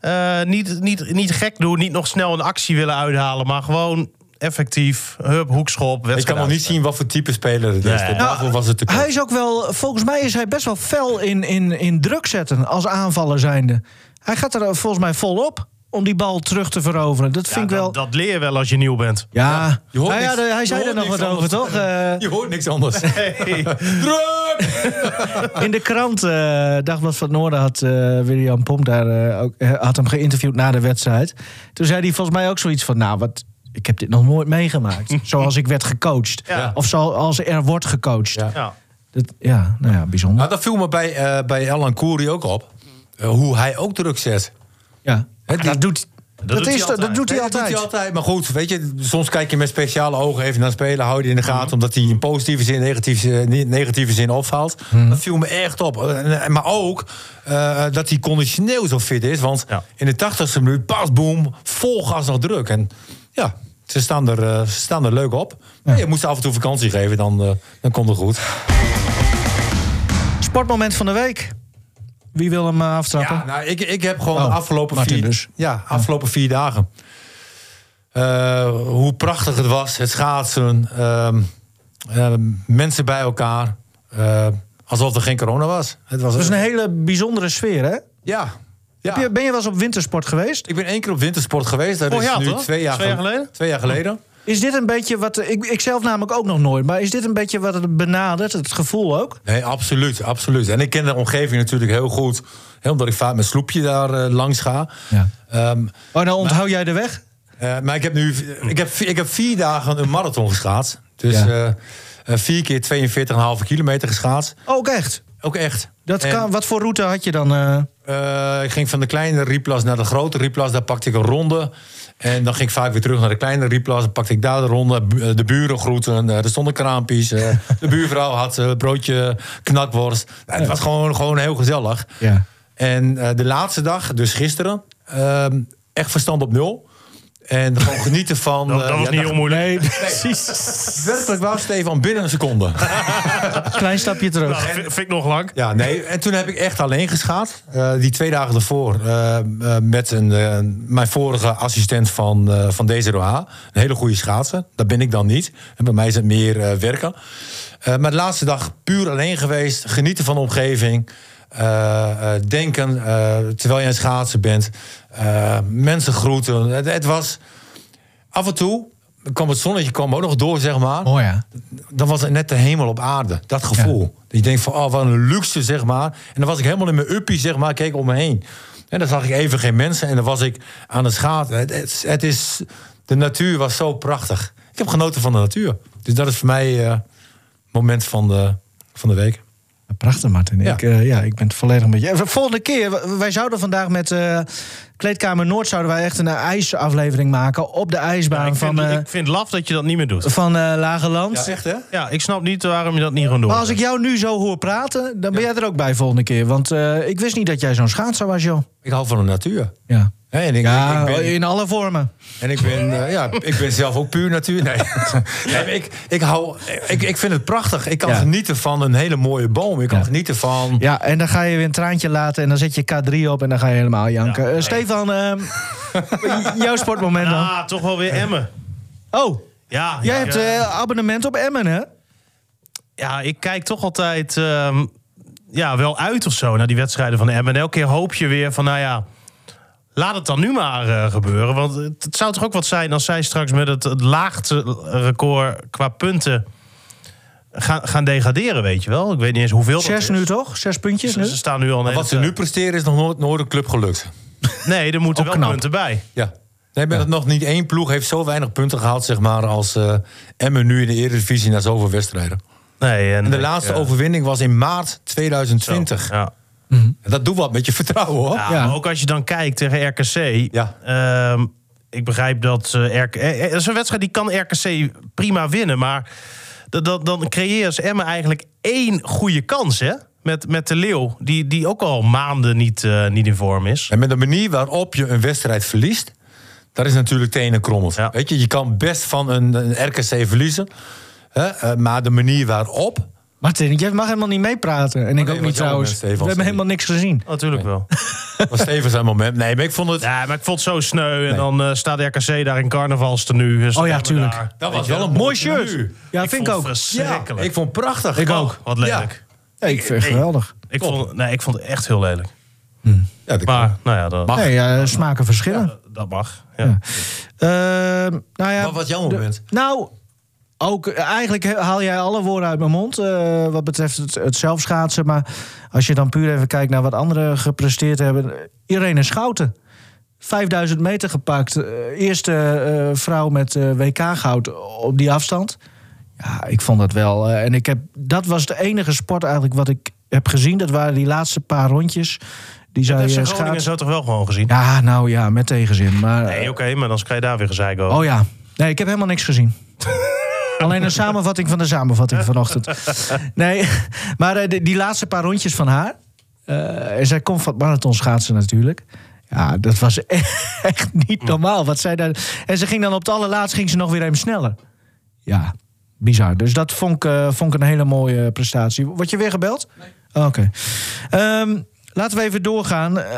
eh, niet, niet, niet gek doen, niet nog snel een actie willen uithalen... maar gewoon effectief, hup, hoekschop, wedstrijd.
Ik kan nog niet zien wat voor type speler het is.
Nee.
En Daarvoor was het te kort.
Nou, Hij is ook wel, volgens mij is hij best wel fel in, in, in druk zetten als aanvaller zijnde. Hij gaat er eh, volgens mij vol op om die bal terug te veroveren. Dat
Ja,
vind ik wel.
dat, dat leer je wel als je nieuw bent.
ja,
Je hoort
Nou ja,
niks-
de- hij
je
zei er
hoort
nog
niks
wat over,
anders.
toch? Eh,
Je hoort niks anders.
Nou,
Druk!
In de krant, eh, Dagblad van het Noorden, had eh, William Pomp daar, eh, ook, eh, had hem geïnterviewd na de wedstrijd. Toen zei hij volgens mij ook zoiets van, nou, wat, ik heb dit nog nooit meegemaakt. zoals ik werd gecoacht.
Ja.
Of zoals er wordt gecoacht. Ja,
Ja.
Ja.
dat, ja nou ja, bijzonder.
Nou, dat viel me bij, eh bij Alan Koeri ook op. Eh, hoe hij ook druk zet.
Ja.
Hè, die-
dat doet, dat
doet hij
is, dat
altijd.
doet hij
Nee, dat
altijd.
doet hij altijd. Maar goed, weet je, soms kijk je met speciale ogen even naar spelen. Hou je die in de gaten, omdat hij in positieve zin, negatieve, eh, niet- negatieve zin opvalt. Dat viel me echt op. Eh, en- Maar ook eh, dat hij conditioneel zo fit is. Want
Ja.
in de tachtigste minuut, pas boom, vol gas nog druk. En ja, ze staan er, eh, ze staan er leuk op. Maar Je moest af en toe vakantie geven, dan, eh, dan komt het goed.
Sportmoment van de week. Wie wil hem eh, aftrappen?
Ja, nou, ik, ik heb gewoon
Oh,
de afgelopen
Martin
vier,
dus.
ja, afgelopen vier dagen. Eh, hoe prachtig het was, het schaatsen, ehm, ehm, mensen bij elkaar. eh, alsof er geen corona was. Het was,
dat is een hele bijzondere sfeer, hè?
Ja. ja.
Heb je- Oh, Ben je wel eens op wintersport geweest?
Ik ben één keer op wintersport geweest. Dat
Vorig
is
jaar,
nu
toch?
twee jaar,
Twee jaar
gel-
geleden?
Twee jaar geleden.
Is dit een beetje wat... Ik, ik zelf namelijk ook nog nooit. Maar is dit een beetje wat het benadert? Het gevoel ook?
Nee, absoluut, absoluut. En ik ken de omgeving natuurlijk heel goed. Hè, omdat ik vaak met sloepje daar eh, langs ga.
Ja.
Ehm,
Oh, nou onthoud jij de weg?
Eh, maar ik heb nu ik heb, ik heb vier dagen een marathon geschaatst. Dus
Ja.
eh, eh, vier keer 42,5 kilometer geschaatst.
Ook echt?
Ook echt.
Dat
En,
kan, wat voor route had je dan? eh?
eh, ik ging van de kleine Rieplas naar de grote Rieplas. Daar pakte ik een ronde. En dan ging ik vaak weer terug naar de kleine Rieplas. Dan pakte ik daar de ronde. Bu- eh, De buren groeten. eh, Er stonden kraampjes. eh, De buurvrouw had eh, broodje knakworst. Nou, het was gewoon, gewoon heel gezellig.
Ja.
En eh, de laatste dag, dus gisteren, ehm, echt verstand op nul. En gewoon genieten van...
Dat,
eh,
dat was
ja,
niet heel moeilijk.
Nee, precies.
Werkelijk waar, Stefan, binnen een seconde.
Klein stapje terug.
Nou, vind vind ik nog lang.
Ja, nee. En toen heb ik echt alleen geschaat. Eh, die twee dagen ervoor. eh, eh, met een, eh, mijn vorige assistent van, eh van DZOH. Een hele goede schaatser. Dat ben ik dan niet. En bij mij is het meer eh, werken. Eh, maar de laatste dag puur alleen geweest. Genieten van de omgeving. eh, eh, denken eh, terwijl je aan het schaatsen bent. Eh, mensen groeten. Het, het was af en toe. kwam het zonnetje kwam ook nog door, zeg maar
Mooi, ja.
dan was het net de hemel op aarde. Dat gevoel. Dat je denkt van, oh, wat een luxe, zeg maar. En dan was ik helemaal in mijn uppie, zeg maar, keek om me heen. En dan zag ik even geen mensen en dan was ik aan het schaatsen. Het, het, het is, de natuur was zo prachtig. Ik heb genoten van de natuur. Dus dat is voor mij eh, het moment van de, van de week.
Prachtig, Martin.
Ja.
Ik, eh, ja, ik ben het volledig met je. En Volgende keer, w- wij zouden vandaag met eh, Kleedkamer Noord... zouden wij echt een eh, ijsaflevering maken op de ijsbaan
Nou, ik,
van,
vind,
eh,
ik vind laf dat je dat niet meer doet.
van eh Lage Land.
echt, hè?
Ja, ik snap niet waarom je dat niet gewoon doet.
maar als ik jou nu zo hoor praten, dan ben jij er ook bij volgende keer. Want eh, ik wist niet dat jij zo'n schaatser was, joh.
Ik hou van de natuur.
Ja,
Hè, En ik,
ja oh,
ik ben,
in alle vormen.
en ik ben, eh, ja, ik ben zelf ook puur natuur. Nee, Nee, maar ik, ik, hou, ik, ik vind het prachtig. Ik kan
Ja.
genieten van een hele mooie boom. Ik kan
Ja.
genieten van...
Ja, en dan ga je weer een traantje laten en dan zet je K3 op en dan ga je helemaal janken.
Ja,
Eh,
nee.
Stefan, ehm, jouw sportmoment dan.
Ah, toch wel weer Emmen.
Oh,
Ja,
jij
ja,
hebt
ja.
eh, abonnement op Emmen, hè?
ja, ik kijk toch altijd ehm, ja, wel uit of zo naar die wedstrijden van Emmen. En elke keer hoop je weer van, nou ja, laat het dan nu maar eh, gebeuren. Want het, het zou toch ook wat zijn als zij straks met het, het laagste record qua punten gaan, gaan degraderen, weet je wel. Ik weet niet eens hoeveel dat
Zes
is.
nu toch? Zes puntjes
Ze,
nu?
ze staan nu al... een hele
Wat ze
tijd-
nu presteren is nog nooit, nooit een club gelukt.
Nee, er moeten
Ook
wel
knap.
punten bij.
Ja. Nee, maar dat nog niet één ploeg heeft zo weinig punten gehaald zeg maar, als eh Emmen nu in de Eredivisie na zoveel wedstrijden.
Nee, en,
En de laatste
ja.
overwinning was in maart 2020.
Zo, Ja.
Dat doet wat met je vertrouwen hoor.
Ja,
Ja.
maar ook als je dan kijkt tegen RKC.
Ja.
ehm, ik begrijp dat eh RK, eh, eh, dat is een wedstrijd die kan RKC prima winnen. Maar dat, dat, dan creëert ze Emmen eigenlijk één goede kans, hè? Met, met de Leeuw, die, die ook al maanden niet, eh, niet in vorm is.
En met de manier waarop je een wedstrijd verliest, dat is natuurlijk tenenkrommend.
Ja.
Weet je, je kan best van een, een RKC verliezen, hè, eh, maar de manier waarop,
Martin, jij mag helemaal niet meepraten. En ik
nee,
ook
wat
niet
jammer,
trouwens.
Stefan,
We hebben
sorry.
helemaal niks gezien.
Natuurlijk wel.
was Steven zijn moment. Nee, maar ik vond het.
Ja, maar ik vond het zo sneu. En dan eh, staat RKC daar in carnavalstenu. Dus
Oh ja,
Emmen
tuurlijk.
daar.
Dat
Weet
was
je
wel een
Mooi
mooi
shirt. Ja,
ik
vind
vond
ik ook.
het
Ja,
verschrikkelijk.
ik vond het prachtig.
Ik ook.
Wat lelijk.
Ja, ik vind het geweldig.
Ik, vond, nee, ik vond het echt heel lelijk.
Ja, dat
Maar, nou ja, dat,
Mag.
Nee, eh, smaken verschillen.
dat mag. Ja.
Ehm, nou ja,
Maar wat jouw moment?
Nou, ook, eh, eigenlijk he- haal jij alle woorden uit mijn mond. eh, wat betreft het, het zelfschaatsen. Maar als je dan puur even kijkt naar wat anderen gepresteerd hebben. eh, Irene Schouten. 5000 meter gepakt. eh, eerste eh, vrouw met WK-goud op die afstand. Ja, ik vond dat wel. eh, en ik heb, dat was de enige sport eigenlijk wat ik heb gezien. Dat waren die laatste paar rondjes. Die zij
Dat
eh,
heeft Groningen
schaatsen.
zo toch wel gewoon gezien?
Ja, nou ja, met tegenzin. Maar,
Nee,
eh,
oké, maar dan krijg je daar weer gezeik over.
Oh ja. Nee, ik heb helemaal niks gezien. Alleen een samenvatting van de samenvatting vanochtend. Nee, maar eh, die, die laatste paar rondjes van haar. eh, en zij komt van het marathon schaatsen natuurlijk. Ja, dat was e- echt niet normaal. Wat zij daar... En ze ging dan op het allerlaatst ging ze nog weer even sneller. Ja, bizar. Dus dat vond ik, eh, vond ik een hele mooie prestatie. Word je weer gebeld? Nee. Oké. Ehm, laten we even doorgaan. Eh,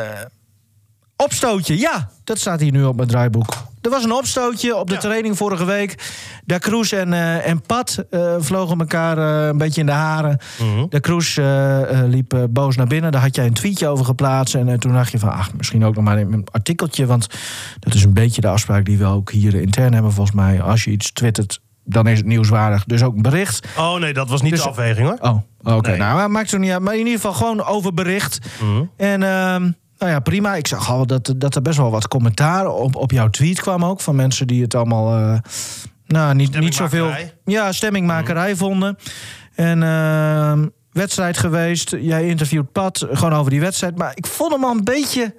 Opstootje, ja. Dat staat hier nu op mijn draaiboek. Er was een opstootje op de training vorige week. Da Cruz en, eh, en Pat eh, vlogen elkaar eh, een beetje in de haren. Da Cruz eh, eh, liep eh, boos naar binnen. Daar had jij een tweetje over geplaatst. En eh, toen dacht je van, ach, misschien ook nog maar een een artikeltje. Want dat is een beetje de afspraak die we ook hier intern hebben volgens mij. Als je iets twittert, dan is het nieuwswaardig. Dus ook een bericht.
Oh nee, dat was niet
Dus-
de afweging hoor.
Oh, oké.
Nee. Mhm.
Nou, maar maakt het niet uit. Maar in ieder geval gewoon over bericht. En ehm, Nou ja, prima. Ik zag al dat, dat er best wel wat commentaar op, op jouw tweet kwam ook. Van mensen die het allemaal. eh, nou, niet, niet zoveel.
Stemmingmakerij. Mhm.
Ja, stemmingmakerij vonden. En ehm, wedstrijd geweest. Jij interviewt Pat gewoon over die wedstrijd. Maar ik vond hem al een beetje.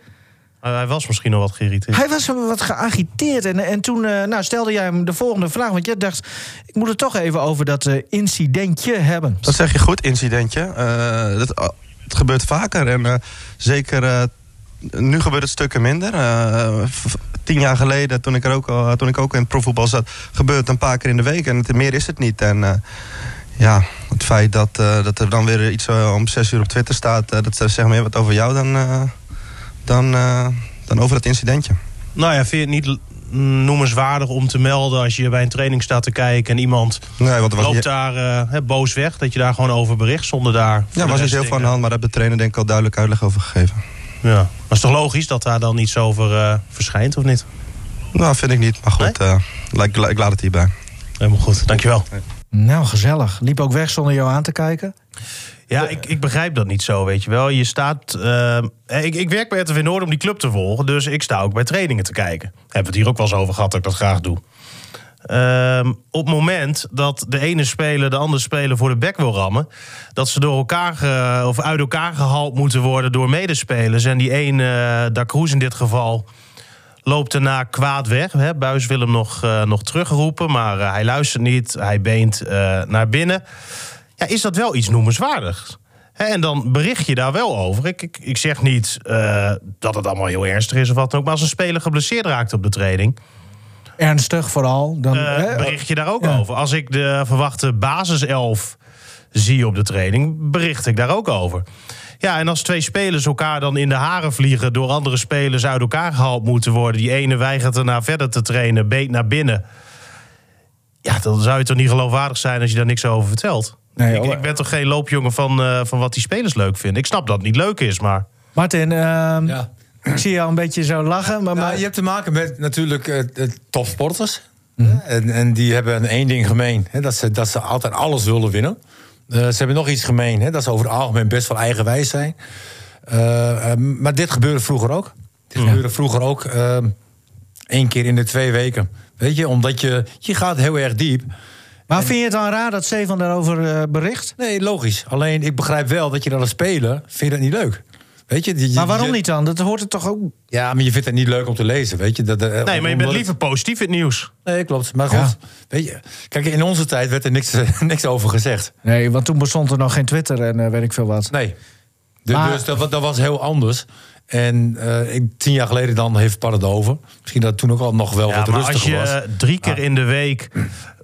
Eh, hij was misschien al wat geïrriteerd.
Hij was wat geagiteerd. En, en toen eh, nou, stelde jij hem de volgende vraag. Want jij dacht, ik moet het toch even over dat eh, incidentje hebben.
Dat zeg je goed, incidentje. Eh, dat, het gebeurt vaker en eh, zeker eh, nu gebeurt het stukken minder. Eh, v- tien jaar geleden, toen ik, er ook, al- toen ik ook in het profvoetbal zat, gebeurt het een paar keer in de week en het, meer is het niet. En eh, ja, het feit dat, eh, dat er dan weer iets eh, om zes uur op Twitter staat, eh, dat zegt meer wat over jou dan, eh, dan, eh, dan over dat incidentje.
Nou ja, vind je het niet l- mm, noemenswaardig om te melden als je bij een training staat te kijken en iemand
Nee, want er was
loopt
niet-
daar eh, hè, boos weg, dat je daar gewoon over bericht zonder daar. voor
ja,
de
was niet
rest
heel veel aan de
dingen-
hand, maar daar heb de trainer denk ik al duidelijk uitleg over gegeven.
Ja, maar is toch logisch dat daar dan iets over eh, verschijnt of niet?
Nou, vind ik niet, maar goed, eh, la- ik, la- ik laat het hierbij.
Helemaal goed, dankjewel.
Nou, gezellig. Liep ook weg zonder jou aan te kijken.
Ja, ik, ik begrijp dat niet zo, weet je wel. Je staat... eh, ik, ik werk bij RTV Noord om die club te volgen... dus ik sta ook bij trainingen te kijken. Hebben we het hier ook wel eens over gehad dat ik dat graag doe. Ehm, op het moment dat de ene speler de andere speler voor de bek wil rammen... dat ze door elkaar ge- of uit elkaar gehaald moeten worden door medespelers... en die ene, eh Da Cruz in dit geval, loopt daarna kwaad weg. Hè? Buis wil hem nog, eh, nog terugroepen, maar eh, hij luistert niet. Hij beent eh, naar binnen ja, is dat wel iets noemenswaardigs. Hè, en dan bericht je daar wel over. Ik, ik, ik zeg niet eh, dat het allemaal heel ernstig is of wat dan ook. Maar als een speler geblesseerd raakt op de training,
Ernstig vooral. Dan,
eh,
hè,
bericht je daar ook over. Als ik de verwachte basiself zie op de training, bericht ik daar ook over. Ja, en als twee spelers elkaar dan in de haren vliegen... door andere spelers uit elkaar gehaald moeten worden... die ene weigert erna verder te trainen, beet naar binnen... ja, dan zou je toch niet geloofwaardig zijn als je daar niks over vertelt?
Nee,
ik,
hoor.
ik ben toch geen loopjongen van, eh, van wat die spelers leuk vinden? Ik snap dat het niet leuk is, maar...
Martin, ehm,
Ja.
ik zie jou een beetje zo lachen. Maar,
Nou,
maar-
je hebt te maken met natuurlijk eh, eh, topsporters.
Mhm.
En, en die hebben één ding gemeen. Hè, dat, ze, dat ze altijd alles willen winnen. Eh, ze hebben nog iets gemeen. Hè, dat ze over het algemeen best wel eigenwijs zijn. Eh, eh, maar dit gebeurde vroeger ook.
Mhm.
Dit gebeurde vroeger ook eh, één keer in de twee weken. Weet je, omdat je, je gaat heel erg diep.
maar vind je het dan raar dat Stefan daarover eh, bericht?
Nee, logisch. Alleen ik begrijp wel dat je dat als speler vindt dat niet leuk. Weet je, die-
Maar waarom
je-
niet dan? Dat hoort er toch ook...
Ja, maar je vindt het niet leuk om te lezen, weet je. Dat, eh,
Nee, maar je
omdat
bent
het-
liever positief in het nieuws.
Nee, klopt. Maar goed,
Ja.
weet je, kijk, in onze tijd werd er niks, niks over gezegd.
Nee, want toen bestond er nog geen Twitter en eh, weet ik veel wat.
Nee. De-
Maar-
Dus dat, wa- dat was heel anders. En eh, ik, tien jaar geleden dan heeft Par het over. Misschien dat het toen ook al nog wel
Ja,
wat
maar als
rustiger
je
was. Ah.
eh, drie keer in de week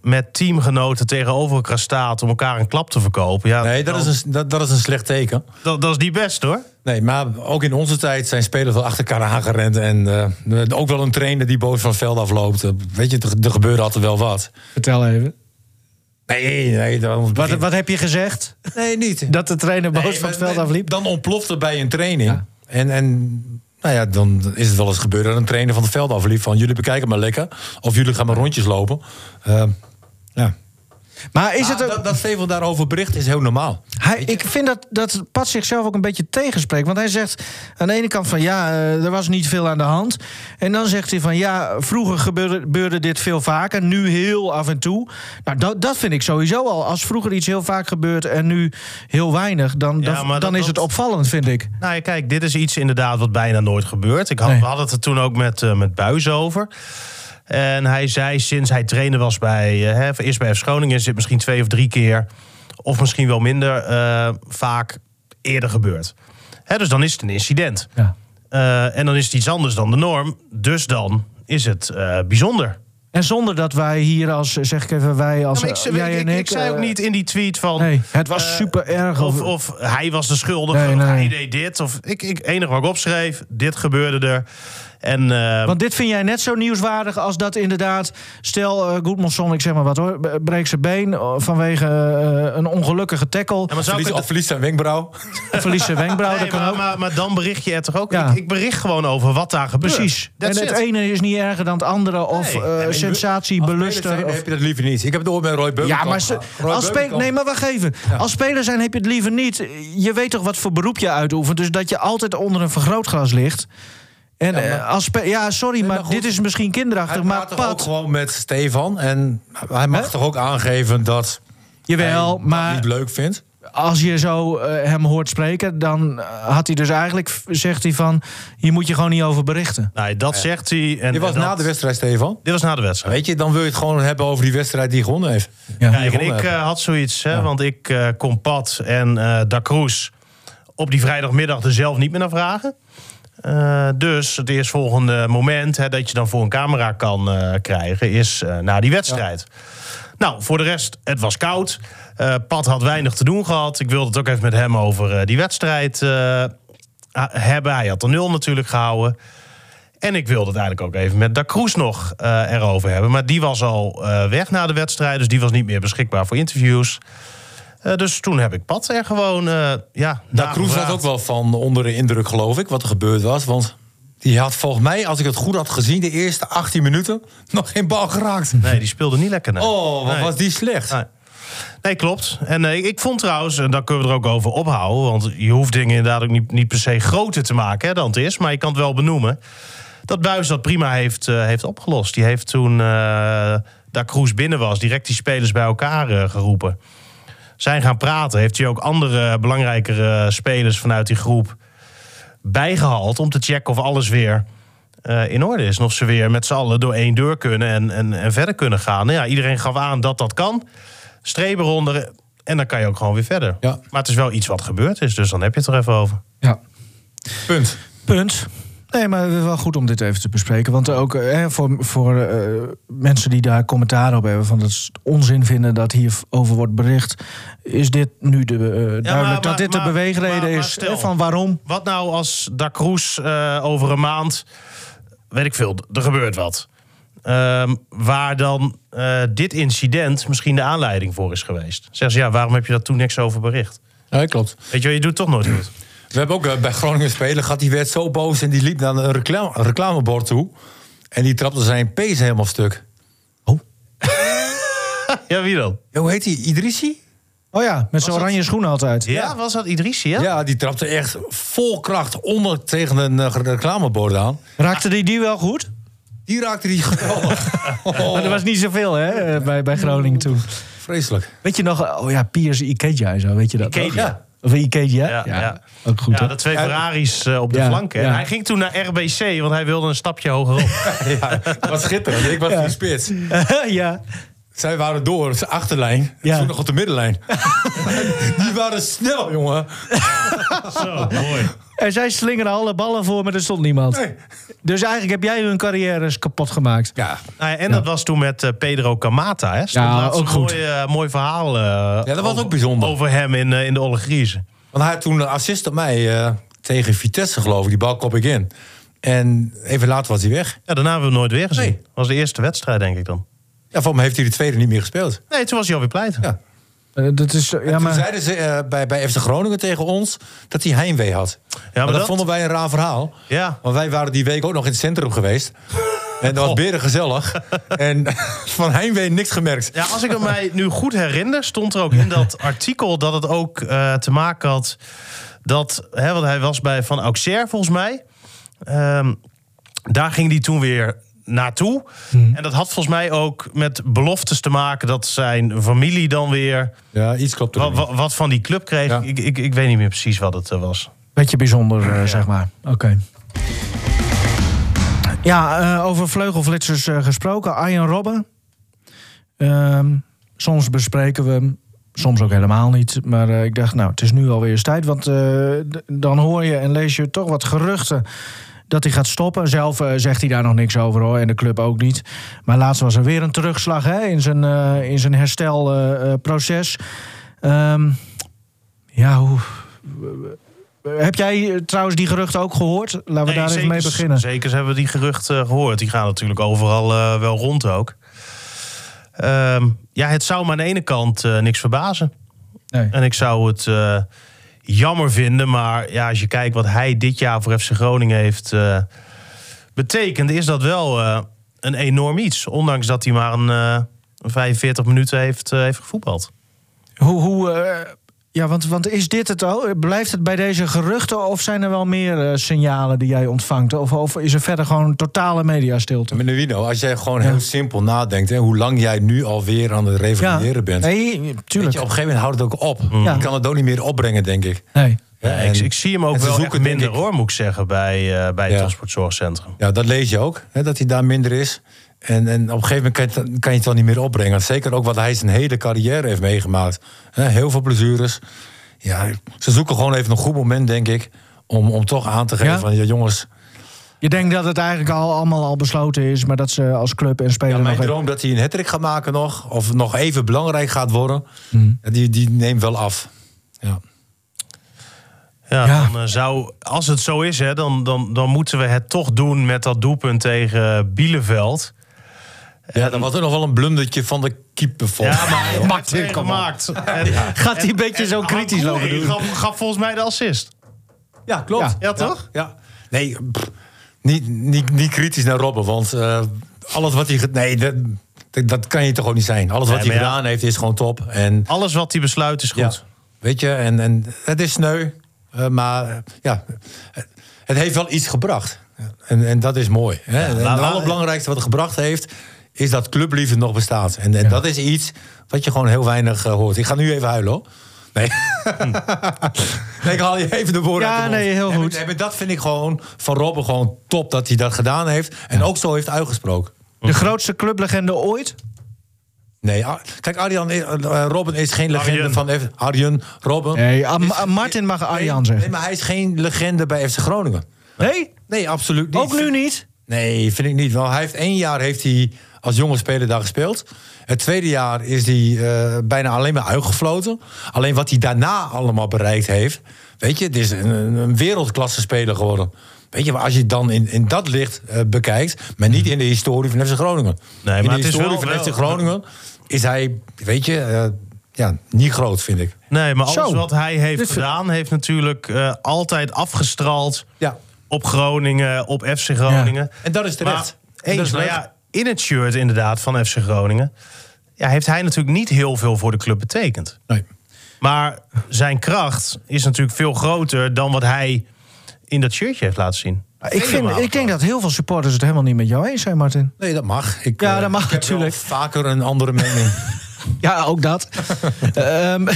met teamgenoten tegenover elkaar staat om elkaar een klap te verkopen, ja,
Nee,
eh, dan-
dat is, een, dat, dat is een slecht teken.
dat, dat is niet best hoor.
Nee, maar ook in onze tijd zijn spelers wel achter elkaar aangerend. En eh, ook wel een trainer die boos van het veld afloopt. Eh, Weet je, er, er gebeurde altijd wel wat.
Vertel even.
Nee, nee, dan...
Wat, wat heb je gezegd?
Nee, niet.
Dat de trainer boos
Nee,
van het
maar-
veld afliep?
Dan ontploft het bij een training. En, en nou ja, dan is het wel eens gebeurd dat een trainer van het veld afliep van jullie bekijken maar lekker. Of jullie gaan maar rondjes lopen. Eh, ja.
Maar is
is
het ook...
dat, dat Steven daarover bericht is heel normaal.
Hij, ik vind dat, dat Pat zichzelf ook een beetje tegenspreekt. Want hij zegt aan de ene kant van ja, eh, er was niet veel aan de hand. En dan zegt hij van ja, vroeger gebeurde, gebeurde dit veel vaker. Nu heel af en toe. Nou, dat, dat vind ik sowieso al. Als vroeger iets heel vaak gebeurt en nu heel weinig... dan,
Ja,
dan,
maar dat-
dan is het
dat-
opvallend, vind ik.
Nou ja, kijk, dit is iets inderdaad wat bijna nooit gebeurt. Ik had,
Nee.
We hadden het er toen ook met, eh, met Buis over. En hij zei sinds hij trainer was bij, eh, hè, eerst bij F. Groningen... is dit misschien twee of drie keer, of misschien wel minder eh, vaak eerder gebeurd. Hè, dus dan is het een incident.
Ja.
Eh, en dan is het iets anders dan de norm. Dus dan is het eh, bijzonder.
En zonder dat wij hier als, zeg ik even, wij als
Ja, maar
eh, jij
ik,
en
ik,
ik...
ik zei ook
eh,
niet in die tweet van...
Nee, het was
eh,
super erg.
Of,
Of,
of hij was de schuldige,
Nee,
of
nee.
hij deed dit. Of ik, ik, het enige wat ik opschreef, dit gebeurde er. En, eh,
Want dit vind jij net zo nieuwswaardig als dat inderdaad... stel, eh Goedmanson, ik zeg maar wat hoor... b- breekt zijn been eh, vanwege eh, een ongelukkige tackle...
ja, maar zou ik
Verlies,
het-
of verliest zijn wenkbrauw.
verliest zijn wenkbrauw,
Nee,
dat kan
maar,
ook.
maar, maar dan bericht je er toch ook.
Ja.
Ik, ik bericht gewoon over wat daar gebeurt.
Precies.
That's
en het
it.
ene is niet erger dan het andere. Of
Nee.
eh, sensatie,
Als
beluster.
speler
of-
zijn, heb je dat liever niet. Ik heb het ooit met Roy Beukenkamp
Ja, maar ze-
gehad. Roy
als speler,
Beukenkamp-
nee, maar wacht even. Als speler zijn heb je het liever niet. Je weet toch wat voor beroep je uitoefent. Dus dat je altijd onder een vergrootglas ligt. En ja, als spe- ja sorry, maar,
maar goed.
dit is misschien kinderachtig.
Hij
Maar
praat toch ook
pat,
gewoon met Stefan. En hij mag
Hè?
toch ook aangeven dat
jawel.
hij maar...
Maar
niet leuk vindt.
als je zo eh, hem hoort spreken, dan eh, had hij dus eigenlijk, v- zegt hij van... hier moet je gewoon niet over berichten.
Nee, dat zegt hij. En,
Je was
en dat-
na de wedstrijd, Stefan.
Dit was na de wedstrijd.
Weet je, dan wil je het gewoon hebben over die wedstrijd die gewonnen heeft.
Ja.
Die
Kijk, en
gewonnen
ik
heeft.
eh, had zoiets, hè, want ik eh kon Pat en eh Da Cruz op die vrijdagmiddag er zelf niet meer naar vragen. Eh, dus het eerstvolgende moment hè, dat je dan voor een camera kan eh, krijgen is eh, na die wedstrijd. Nou, voor de rest, het was koud. Eh, Pat had weinig te doen gehad. Ik wilde het ook even met hem over eh, die wedstrijd eh, ha- Ah, hebben. Hij had de nul natuurlijk gehouden. En ik wilde het eigenlijk ook even met Da Cruz nog eh, erover hebben. Maar die was al eh, weg na de wedstrijd, dus die was niet meer beschikbaar voor interviews. Eh, dus toen heb ik Pat er gewoon. eh ja,
Nou, Kroes was ook wel van onder de indruk, geloof ik, wat er gebeurd was. Want die had volgens mij, als ik het goed had gezien, de eerste 18 minuten nog geen bal geraakt.
Nee, die speelde niet lekker. nee.
Oh, wat
Nee.
was die slecht.
Nee. Nee, klopt. En eh, ik vond trouwens, en daar kunnen we er ook over ophouden... want je hoeft dingen inderdaad ook niet, niet per se groter te maken hè, dan het is... maar je kan het wel benoemen. Dat Buis dat prima heeft, eh, heeft opgelost. Die heeft toen eh daar Kroes binnen was... direct die spelers bij elkaar eh, geroepen. Zijn gaan praten. Heeft hij ook andere belangrijkere spelers vanuit die groep bijgehaald... om te checken of alles weer eh, in orde is. En of ze weer met z'n allen door één deur kunnen en, en, en verder kunnen gaan. Nou ja, iedereen gaf aan dat dat kan. Streep eronder en dan kan je ook gewoon weer verder.
Ja.
Maar het is wel iets wat gebeurd is, dus dan heb je het er even over.
Ja.
Punt.
Punt. Nee, maar het is wel goed om dit even te bespreken. Want ook eh, voor, voor eh, mensen die daar commentaar op hebben... van dat ze het onzin vinden dat hierover wordt bericht... is dit nu de, eh, duidelijk
maar-
dat dit
maar-
de beweegreden
maar- maar
is
stel.
eh, van waarom.
Wat nou als Da Cruz eh, over een maand, weet ik veel, er gebeurt wat. Ehm, waar dan eh, dit incident misschien de aanleiding voor is geweest. Zeg ze, ja, waarom heb je daar toen niks over bericht?
Ja, klopt.
Weet je wel, je doet toch nooit goed.
We hebben ook eh, bij Groningen spelen gehad. Die werd zo boos en die liep naar een reclame, reclamebord toe. En die trapte zijn pees helemaal stuk.
ja, wie dan?
Ja, Hoe heet die? Idrissi?
Oh ja, met zo'n
dat-
oranje schoenen altijd.
Ja, was dat Idrissi, ja?
Ja, die trapte echt vol kracht onder tegen een eh, reclamebord aan.
Raakte die die wel goed?
Die raakte die geweldig. Oh.
Maar
Oh.
er was niet zoveel hè, eh, bij, bij Groningen toen.
Vreselijk.
Weet je nog, eh, oh ja, Piers Ikeja en zo, weet je dat nog?
Ikeja.
Ja. Of Ikeja?
Ja, ja.
Ook goed,
ja,
hè?
de twee Ferraris eh, op de
Ja,
flank. hè.
ja.
En hij ging toen naar RBC, want hij wilde een stapje hogerop.
Ja, dat was schitterend. Ik was die spits.
ja.
Zij waren door, de achterlijn.
Ja.
Toen nog op de middenlijn. die waren snel, jongen.
Zo, mooi.
En zij slingeren alle ballen voor, maar er stond niemand.
Nee.
Dus eigenlijk heb jij hun carrières kapot gemaakt.
Ja,
Nou ja, en dat was toen met eh, Pedro Camata. Hè? Stond
Ja,
laatst
ook
een
goed.
Mooi, eh, mooi verhaal eh,
dat was
over-
ook bijzonder.
over hem in, eh, in de Olle Griezen.
Want hij had toen een assist op mij eh, tegen Vitesse, geloof ik. Die bal kop ik in. En even later was hij weg.
Ja, daarna hebben we hem nooit weer gezien.
Nee.
was de eerste wedstrijd, denk ik dan.
Ja, voor mij heeft hij de tweede niet meer gespeeld.
Nee, toen was hij alweer pleit.
Ja.
Eh, dat is, eh, ja,
Toen
maar,
zeiden ze eh, bij, bij FC Groningen tegen ons dat hij heimwee had. Ja, maar dat,
dat-
vonden wij een raar verhaal.
Ja.
Want wij waren die week ook nog in het centrum geweest. En dat was beren gezellig. En van heimwee niks gemerkt.
Ja, als ik het mij nu goed herinner, stond er ook in dat artikel dat het ook eh, te maken had dat, hè, want hij was bij Van Auxerre volgens mij. Ehm, daar ging hij toen weer naartoe.
Hmm.
En dat had volgens mij ook met beloftes te maken dat zijn familie dan weer
Ja, iets klopt er
wa-
niet.
wa- wat van die club kreeg.
Ja.
Ik, ik, ik weet niet meer precies wat het eh, was.
beetje bijzonder, eh, zeg maar. Oké. Ja, eh, over vleugelflitsers eh, gesproken. Arjen Robben. Ehm, soms bespreken we hem, soms ook helemaal niet. Maar eh, ik dacht, nou, het is nu alweer eens tijd. Want eh, d- dan hoor je en lees je toch wat geruchten dat hij gaat stoppen. Zelf eh, zegt hij daar nog niks over hoor, en de club ook niet. Maar laatst was er weer een terugslag hè, in zijn, eh, in zijn eh, Ehm, herstelproces. ja, hoe, Heb jij eh, trouwens die geruchten ook gehoord? Laten we daar even mee beginnen.
Zeker hebben we die geruchten gehoord. Die gaan natuurlijk overal eh, wel rond ook. Ehm, ja, het zou me aan de ene kant eh, niks verbazen.
Nee.
En ik zou het eh, jammer vinden. Maar ja, als je kijkt wat hij dit jaar voor FC Groningen heeft eh, betekend, is dat wel eh, een enorm iets. Ondanks dat hij maar een eh, 45 minuten heeft, eh, heeft gevoetbald.
Hoe, hoe, eh, ja, want, want is dit het al? Blijft het bij deze geruchten of zijn er wel meer eh, signalen die jij ontvangt? Of, of is er verder gewoon totale mediastilte?
Meneer Wino, als jij gewoon heel simpel nadenkt... Hè, hoe lang jij nu alweer aan het revalideren bent...
nee,
weet
tuurlijk.
je, op een gegeven moment houdt het ook op.
Ja.
Je kan het ook niet meer opbrengen, denk ik.
nee.
Ja,
Ja,
en-
ik, ik zie hem
en
ook
ze
wel echt
zoeken, denk
minder
ik-
hoor, moet ik zeggen, bij, eh bij het
Ja.
transportzorgcentrum.
Ja, dat lees je ook, hè, dat hij daar minder is. En, en op een gegeven moment kan je, het dan- kan je het wel niet meer opbrengen. Zeker ook wat hij zijn hele carrière heeft meegemaakt. Hè, heel veel blessures. Ja, ze zoeken gewoon even een goed moment, denk ik... om, om toch aan te geven
Ja?
van, ja, jongens...
Je denkt dat het eigenlijk al, allemaal al besloten is, maar dat ze als club en speler
Ja, mijn
nog even-
droom dat hij een hattrick gaat maken nog... of nog even belangrijk gaat worden... die, die neemt wel af. Ja.
Ja,
Ja.
Dan, eh, zou, als het zo is, hè, dan, dan, dan moeten we het toch doen met dat doelpunt tegen Bieleveld.
Ja, dan was er nog wel een blundertje van de keeper volgens
Ja,
mij,
maar
hoor.
Martin gemaakt. En,
Gaat hij een beetje zo kritisch lopen
Hankouri
doen?
Gaf, gaf volgens mij de assist.
Ja, klopt.
Ja.
Ja, toch?
Ja. Nee, pff, niet, niet, niet kritisch naar Robben, want eh, alles wat hij... ge- Nee, dat, dat- dat kan je toch ook niet zijn. Alles wat
Nee,
hij
maar ja.
gedaan heeft is gewoon top. En,
Alles wat hij besluit is
ja,
goed.
weet je, en, en het is sneu, eh, maar eh, ja, het- het heeft wel iets gebracht. En, en dat is mooi. Hè? en
laat-
het
laat-
allerbelangrijkste wat het gebracht heeft, is dat clubliefde nog bestaat. En, en dat is iets wat je gewoon heel weinig eh, hoort. Ik ga nu even huilen, hoor. Nee. nee, ik haal je even de woorden
Hm. Ja,
uit de mond.
nee, heel
En-
goed.
en- en dat vind ik gewoon van Robben gewoon top dat hij dat gedaan heeft. En ook zo heeft uitgesproken.
De grootste clublegende ooit?
Nee, Ar- kijk, Arjan, is- eh, Robben is geen legende
Arjen.
van... F- Arjen, Robben...
Nee, ah,
is-
Ma- Martin mag Arjan
nee, Nee,
zeggen.
maar hij is geen legende bij FC Groningen.
Nee?
Nee, absoluut niet.
Ook nu niet?
Nee, vind ik niet. Want hij heeft één jaar heeft hij als jonge speler daar gespeeld. Het tweede jaar is hij eh, bijna alleen maar uitgefloten. Alleen wat hij daarna allemaal bereikt heeft. Weet je, het is een, een- een wereldklasse speler geworden. Weet je, maar als je het dan in, in dat licht eh, bekijkt, maar niet in de historie van FC Groningen.
maar
in de
het is
historie
wel-
van
wel-
FC Groningen is hij, weet je, eh, ja, niet groot, vind ik.
Nee, maar alles
Zo. Dus-
wat hij heeft
Dit-
gedaan, heeft natuurlijk eh, altijd afgestraald
Ja,
op Groningen, op FC Groningen.
en dat is terecht.
Maar,
Dat
eens,
is
maar
leuk.
ja, in het shirt inderdaad van FC Groningen... Ja, heeft hij natuurlijk niet heel veel voor de club betekend.
Nee.
Maar zijn kracht is natuurlijk veel groter dan wat hij in dat shirtje heeft laten zien.
Ik, vind,
Helemaal.
ik denk dat heel veel supporters het helemaal niet met jou eens zijn, Martin.
Nee, dat mag. Ik,
Ja,
eh,
dat mag
ik heb wel
natuurlijk.
vaker een andere mening.
Ja, ook dat. Ehm,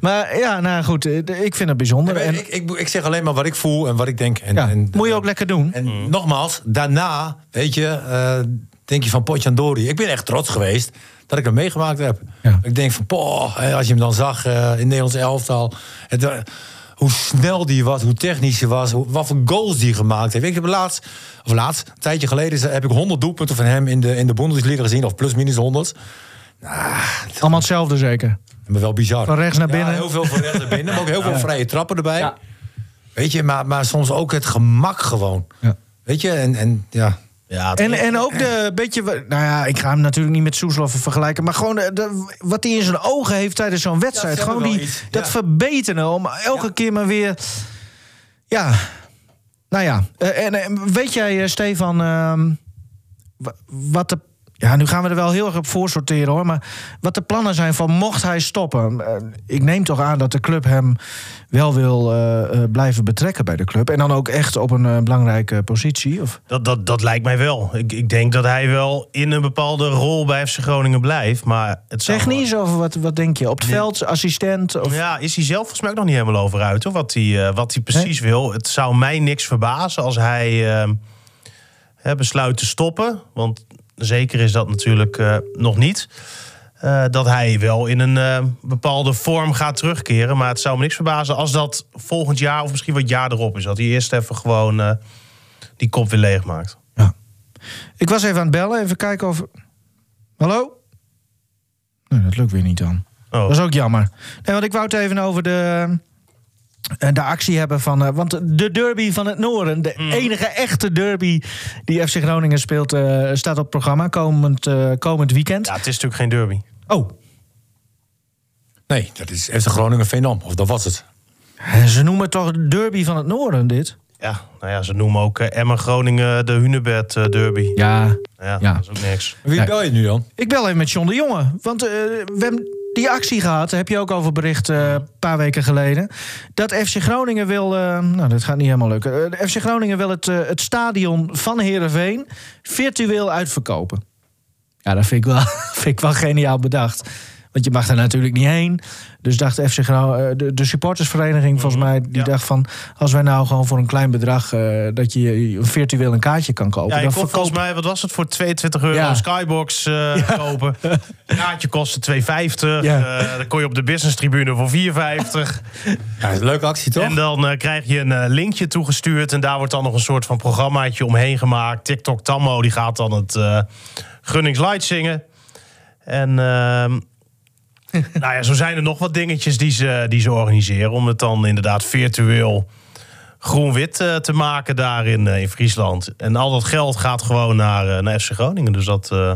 maar ja, nou goed, eh, ik vind het bijzonder.
Nee,
En,
ik, ik, ik zeg alleen maar wat ik voel en wat ik denk. En,
ja,
en,
moet je ook lekker doen.
en nogmaals, daarna, weet je, eh, denk je van Potjandori. Ik ben echt trots geweest dat ik hem meegemaakt heb.
Ja.
Ik denk van, poh, hè, als je hem dan zag eh, in het Nederlands elftal. Het, eh, hoe snel die was, hoe technisch hij was, hoe, wat voor goals die gemaakt heeft. Ik heb laatst, of laatst, een tijdje geleden, is- heb ik 100 doelpunten van hem in de, in de Bundesliga gezien. Of plus minus 100.
Allemaal hetzelfde zeker.
Maar wel bizar.
Van rechts naar binnen.
Ja, heel veel van rechts naar binnen. Maar ook heel veel vrije trappen erbij. Weet je, maar, maar soms ook het gemak gewoon.
Ja.
Weet je, en, en ja.
Ja,
En, en ook de beetje, nou ja, ik ga hem natuurlijk niet met Soeslof vergelijken, maar gewoon de, de- wat hij in zijn ogen heeft tijdens zo'n wedstrijd.
zegt
gewoon
wel
die,
iets,
dat
ja.
verbeteren om elke keer maar weer. Ja, nou ja. Eh, En, en weet jij, eh, Stefan, ehm, wa- wat de. Ja, nu gaan we er wel heel erg op voor sorteren hoor. Maar wat de plannen zijn van mocht hij stoppen. Eh, Ik neem toch aan dat de club hem wel wil eh, eh, blijven betrekken bij de club. En dan ook echt op een eh, belangrijke positie. Of...
dat, dat, dat lijkt mij wel. Ik, ik denk dat hij wel in een bepaalde rol bij FC Groningen blijft. Maar het zou-
Technisch of wat, wat denk je? Op het veld, assistent? Of...
Ja, is hij zelf volgens mij ook nog niet helemaal over uit. Hoor, wat, hij, eh, wat hij precies wil. Het zou mij niks verbazen als hij eh, hè, besluit te stoppen. Want zeker is dat natuurlijk eh, nog niet. Eh, dat hij wel in een eh, bepaalde vorm gaat terugkeren. Maar het zou me niks verbazen als dat volgend jaar of misschien wat jaar erop is. Dat hij eerst even gewoon eh, die kop weer leeg maakt.
Ik was even aan het bellen, even kijken of... Hallo? Nee, dat lukt weer niet dan.
Oh.
Dat is ook jammer. Nee, want ik wou het even over de, eh, de actie hebben van. eh, want de derby van het Noorden, de
Mm.
enige echte derby die FC Groningen speelt, eh, staat op het programma komend, eh, komend weekend.
Ja, het is natuurlijk geen derby.
Oh,
Nee, dat is FC Groningen Veendam. Of dat was het.
eh, ze noemen het toch derby van het Noorden, dit?
Ja, nou ja, ze noemen ook eh, Emmen Groningen de Hunebed eh, derby. Nou
Ja.
Ja,
Ja.
dat is ook niks.
Wie
Nee.
bel je nu dan?
Ik bel even met John de Jonge. Want eh, we hebben die actie gehad, daar heb je ook over bericht eh, een paar weken geleden. Dat FC Groningen wil. eh, nou, dat gaat niet helemaal lukken. Eh, de FC Groningen wil het, eh, het stadion van Herenveen virtueel uitverkopen. Ja, dat vind ik wel, vind ik wel geniaal bedacht. Want je mag daar natuurlijk niet heen. Dus dacht FC Grou- eh, de, de supportersvereniging, volgens
Mm-hmm.
mij, die
ja.
dacht van... als wij nou gewoon voor een klein bedrag... eh, dat je virtueel een kaartje kan kopen...
Ja, je
dan
kon volgens
verkopen
mij, wat was het voor 22 euro
Ja.
Skybox eh, kopen? Een kaartje kostte 2,50.
Ja.
Eh, dan kon je op de business tribune voor 4,50.
Ja, dat is een leuke actie toch?
En dan eh, krijg je een eh, linkje toegestuurd. En daar wordt dan nog een soort van programmaatje omheen gemaakt. TikTok Tammo die gaat dan het eh Gunnings Light zingen. En ehm, nou ja, zo zijn er nog wat dingetjes die ze, die ze organiseren. Om het dan inderdaad virtueel groen-wit eh, te maken daar in, eh, in Friesland. En al dat geld gaat gewoon naar, eh, naar FC Groningen. Dus dat, eh,